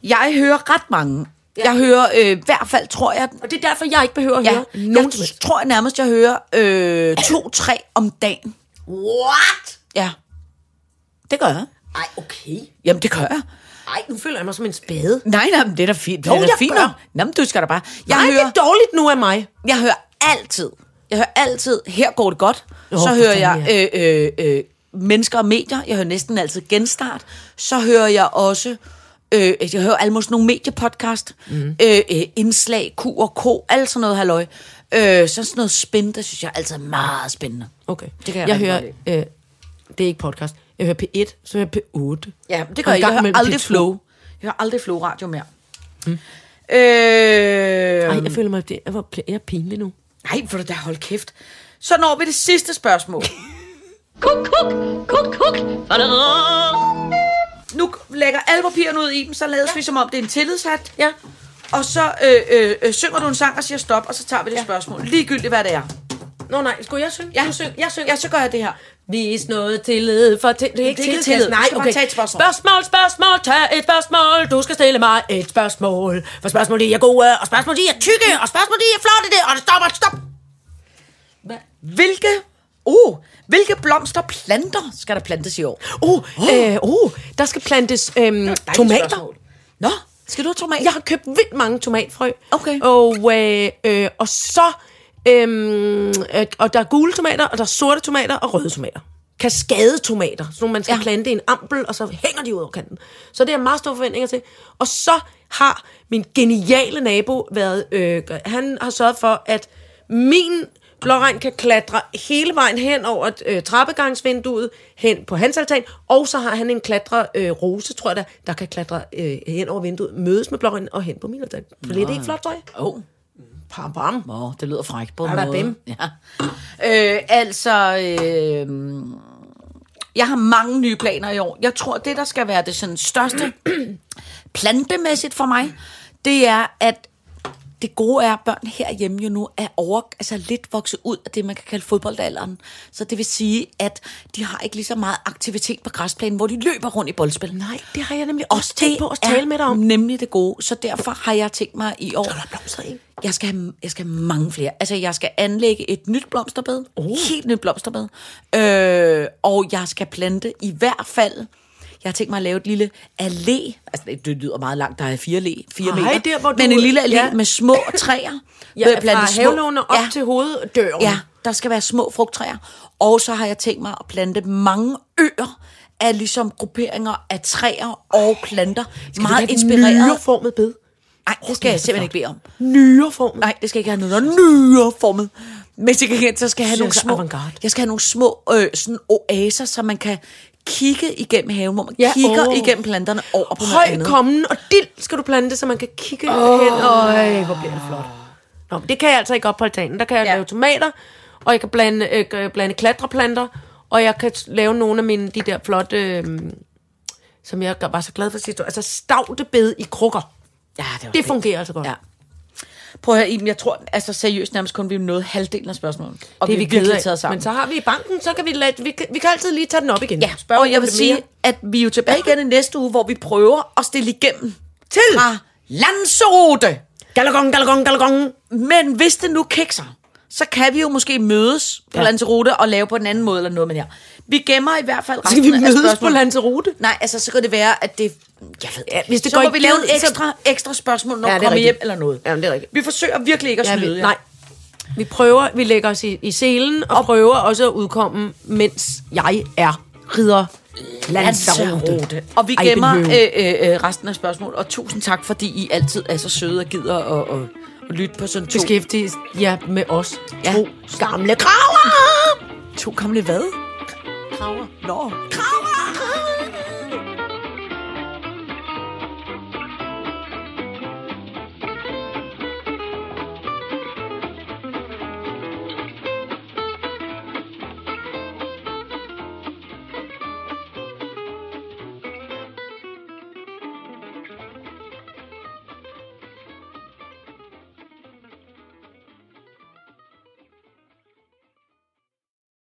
[SPEAKER 4] Jeg hører ret mange. Ja. Jeg hører øh, i hvert fald, tror jeg,
[SPEAKER 3] Og det er derfor, jeg ikke behøver at
[SPEAKER 4] ja,
[SPEAKER 3] høre
[SPEAKER 4] jeg
[SPEAKER 3] nogen som helst.
[SPEAKER 4] tror nærmest, jeg hører øh, to-tre om dagen.
[SPEAKER 3] What?
[SPEAKER 4] Ja. Det gør jeg.
[SPEAKER 3] Ej, okay.
[SPEAKER 4] Jamen, det gør jeg.
[SPEAKER 3] Ej, nu føler jeg mig som en spade.
[SPEAKER 4] Nej, nej, men det er da fint. Det
[SPEAKER 3] Jo,
[SPEAKER 4] er da
[SPEAKER 3] jeg
[SPEAKER 4] fint.
[SPEAKER 3] gør.
[SPEAKER 4] nok. Nå, men du skal da bare. Jeg
[SPEAKER 3] Jeg Nej,
[SPEAKER 4] hører,
[SPEAKER 3] hører... det er dårligt nu af mig.
[SPEAKER 4] jeg hører altid, jeg hører altid, her går det godt.
[SPEAKER 3] Jo,
[SPEAKER 4] så
[SPEAKER 3] for
[SPEAKER 4] hører
[SPEAKER 3] fanden,
[SPEAKER 4] jeg øh, øh, øh, mennesker og medier. Jeg hører næsten altid genstart. Så hører jeg også, øh, jeg hører almost nogle mediepodcast. Mm. Øh, øh, indslag, Q og K, alt sådan noget halløj. Øh, så sådan noget spændende, det synes jeg altid er meget spændende.
[SPEAKER 3] Okay.
[SPEAKER 4] Det kan jeg
[SPEAKER 3] jeg
[SPEAKER 4] rigtig
[SPEAKER 3] hører,
[SPEAKER 4] godt
[SPEAKER 3] øh, det er ikke podcast. Jeg hører P1, så hører jeg P8.
[SPEAKER 4] Ja, men det
[SPEAKER 3] Og
[SPEAKER 4] gør
[SPEAKER 3] en gang
[SPEAKER 4] jeg. Jeg hører
[SPEAKER 3] imellem
[SPEAKER 4] aldrig
[SPEAKER 3] P2.
[SPEAKER 4] flow. Jeg hører aldrig flow radio mere. Mm. Øh,
[SPEAKER 3] Ej, jeg føler mig, det er, hvor pl- jeg er pinlig nu.
[SPEAKER 4] Nej, for da hold kæft. Så når vi det sidste spørgsmål.
[SPEAKER 2] Kuk, kuk, kuk, kuk.
[SPEAKER 4] Nu lægger alle papirerne ud i dem, så lader ja. vi som om, det er en tillidshat. Ja. Og så øh, øh, øh, synger du en sang og siger stop, og så tager vi det ja. spørgsmål. Ligegyldigt, hvad det er.
[SPEAKER 3] Nå nej, skulle jeg synge?
[SPEAKER 4] Ja, syng, jeg synger. Ja, så gør jeg det her.
[SPEAKER 3] Vis noget tillid for til, det er ikke
[SPEAKER 4] Det er
[SPEAKER 3] tillid.
[SPEAKER 4] ikke tillid. Du
[SPEAKER 3] Nej,
[SPEAKER 4] skal bare
[SPEAKER 3] okay.
[SPEAKER 4] tage et spørgsmål.
[SPEAKER 3] spørgsmål, spørgsmål, tag et spørgsmål. Du skal stille mig et spørgsmål. For spørgsmål, de er gode, og spørgsmål, de er tykke, og spørgsmål, de er flotte, det, og det stopper, stop.
[SPEAKER 4] Hvilke, uh, hvilke blomster planter skal der plantes i år?
[SPEAKER 3] Oh, øh, oh, der skal plantes øhm, tomater.
[SPEAKER 4] spørgsmål. Nå, skal du have tomat?
[SPEAKER 3] Jeg har købt vildt mange tomatfrø.
[SPEAKER 4] Okay.
[SPEAKER 3] Og, øh, øh, og så, øhm, øh, og der er gule tomater, og der er sorte tomater og røde tomater. Kaskadetomater, sådan nogle, man skal
[SPEAKER 4] Ja.
[SPEAKER 3] ja. plante i en ampel, og så hænger de ud over kanten. Så det er jeg meget store forventninger til. Og så har min geniale nabo været, øh, han har sørget for, at min blåregn kan klatre hele vejen hen over øh, trappegangsvinduet, hen på hans altan, og så har han en klatre øh, rose, tror jeg da, der kan klatre øh, hen over vinduet, mødes med blåregn og hen på min altan. Bliver det ikke flot, tror jeg?
[SPEAKER 4] Åh,
[SPEAKER 3] Pam, pam.
[SPEAKER 4] oh, det lyder frækt på en
[SPEAKER 3] Er der
[SPEAKER 4] måde.
[SPEAKER 3] dem?
[SPEAKER 4] Ja. Øh, altså, øh, jeg har mange nye planer i år. Jeg tror, det der skal være det sådan største plantemæssigt for mig, det er, at det gode er, at børn herhjemme jo nu er over, altså lidt vokset ud af det, man kan kalde fodboldalderen. Så det vil sige, at de har ikke lige så meget aktivitet på græsplænen, hvor de løber rundt i boldspil.
[SPEAKER 3] Nej, det har jeg nemlig
[SPEAKER 4] Og
[SPEAKER 3] også tænkt
[SPEAKER 4] det
[SPEAKER 3] på at tale
[SPEAKER 4] er
[SPEAKER 3] med dig om.
[SPEAKER 4] nemlig det gode. Så derfor har jeg tænkt mig i år...
[SPEAKER 3] Skal der blomstre i?
[SPEAKER 4] Jeg skal, have, jeg skal have mange flere. Altså, jeg skal anlægge et nyt blomsterbed. Oh. Helt nyt blomsterbed. Øh, og jeg skal plante i hvert fald... Jeg har tænkt mig at lave et lille allé. Altså, det, det lyder meget langt. Der er fire, allé, fire
[SPEAKER 3] Ej,
[SPEAKER 4] meter.
[SPEAKER 3] der, hvor du-
[SPEAKER 4] men en lille allé
[SPEAKER 3] ja.
[SPEAKER 4] ja. med små træer.
[SPEAKER 3] Ja,
[SPEAKER 4] Hvor jeg planter
[SPEAKER 3] fra havelåne op ja. til hoveddøren.
[SPEAKER 4] Ja, der skal være små frugttræer. Og så har jeg tænkt mig at plante mange øer af ligesom grupperinger af træer og planter. Skal meget inspireret.
[SPEAKER 3] Nyreformet bed.
[SPEAKER 4] Nej, det skal jeg simpelthen ikke bede om.
[SPEAKER 3] Nyreformet.
[SPEAKER 4] Nej, det skal ikke have noget nyreformet. Men til gengæld, så skal jeg have
[SPEAKER 3] Synes
[SPEAKER 4] nogle
[SPEAKER 3] jeg
[SPEAKER 4] små,
[SPEAKER 3] avantgarde.
[SPEAKER 4] jeg skal have nogle små øh, sådan oaser, så man kan kigge igennem haven, hvor man
[SPEAKER 3] Ja,
[SPEAKER 4] ja, kigger
[SPEAKER 3] åh.
[SPEAKER 4] oh. igennem planterne over på noget
[SPEAKER 3] Højt
[SPEAKER 4] andet.
[SPEAKER 3] kommen og dild skal du plante, så man kan kigge oh. hen. Øj, hvor bliver det flot. Nå, men det kan jeg altså ikke op på altanen. Der kan jeg ja.
[SPEAKER 6] Ja.
[SPEAKER 3] lave tomater, og jeg kan blande, øh, øh, blande klatreplanter, og jeg kan t- lave nogle af mine, de der flotte, øh, som jeg var så glad for sidste år. Altså stavtebed i krukker.
[SPEAKER 4] Ja, det, var
[SPEAKER 3] Det
[SPEAKER 4] det
[SPEAKER 3] fungerer altså godt.
[SPEAKER 4] Ja.
[SPEAKER 6] Prøv at høre, Iben, jeg tror altså seriøst nærmest kun, vi nåede halvdelen af spørgsmålet. Og
[SPEAKER 3] Det er vi
[SPEAKER 6] er virkelig
[SPEAKER 3] kede af.
[SPEAKER 6] taget sammen.
[SPEAKER 3] Men så har vi i banken, så kan vi, lade, vi, kan, vi kan altid lige tage den op igen.
[SPEAKER 4] Ja,
[SPEAKER 3] Spørg
[SPEAKER 6] og jeg
[SPEAKER 3] om
[SPEAKER 6] vil
[SPEAKER 3] det
[SPEAKER 6] sige,
[SPEAKER 3] mere.
[SPEAKER 6] at vi er jo tilbage igen i næste uge, hvor vi prøver at stille igennem til fra Lanzarote.
[SPEAKER 3] Galagong, galagong, galagong.
[SPEAKER 6] Men hvis det nu kikser, så kan vi jo måske mødes på
[SPEAKER 3] Ja.
[SPEAKER 6] ja. Lanzarote og lave på en anden måde eller noget med her. Vi gemmer i hvert fald resten
[SPEAKER 3] Skal vi
[SPEAKER 6] af
[SPEAKER 3] mødes på
[SPEAKER 6] spørgsmålene.
[SPEAKER 3] Lanzarote?
[SPEAKER 6] Nej, altså så kan det være, at det... Jeg ved ja,
[SPEAKER 3] hvis det
[SPEAKER 6] så
[SPEAKER 3] går
[SPEAKER 6] må
[SPEAKER 3] i
[SPEAKER 6] vi lave
[SPEAKER 3] glid,
[SPEAKER 6] et ekstra, ekstra spørgsmål, når
[SPEAKER 3] Ja,
[SPEAKER 6] ja,
[SPEAKER 3] det er
[SPEAKER 6] kommer
[SPEAKER 3] rigtigt.
[SPEAKER 6] hjem eller noget.
[SPEAKER 3] Jamen, det er rigtigt.
[SPEAKER 6] Vi forsøger virkelig ikke at
[SPEAKER 3] Ja,
[SPEAKER 6] snyde
[SPEAKER 3] vi,
[SPEAKER 6] jer.
[SPEAKER 3] nej. Vi prøver, vi lægger os i, i selen og, og prøver også at udkomme, mens jeg er ridder Lanzarote.
[SPEAKER 6] Lanzarote. Og vi
[SPEAKER 3] Ej,
[SPEAKER 6] gemmer
[SPEAKER 3] den
[SPEAKER 6] øh,
[SPEAKER 3] høge.
[SPEAKER 6] øh, øh, resten af spørgsmål. Og tusind tak, fordi I altid er så søde og gider at, at, at lytte på sådan to...
[SPEAKER 3] Beskæftiges ja, med os ja.
[SPEAKER 6] Ja.
[SPEAKER 3] to gamle kraver!
[SPEAKER 6] To gamle hvad? Kraver. Nå, kraver!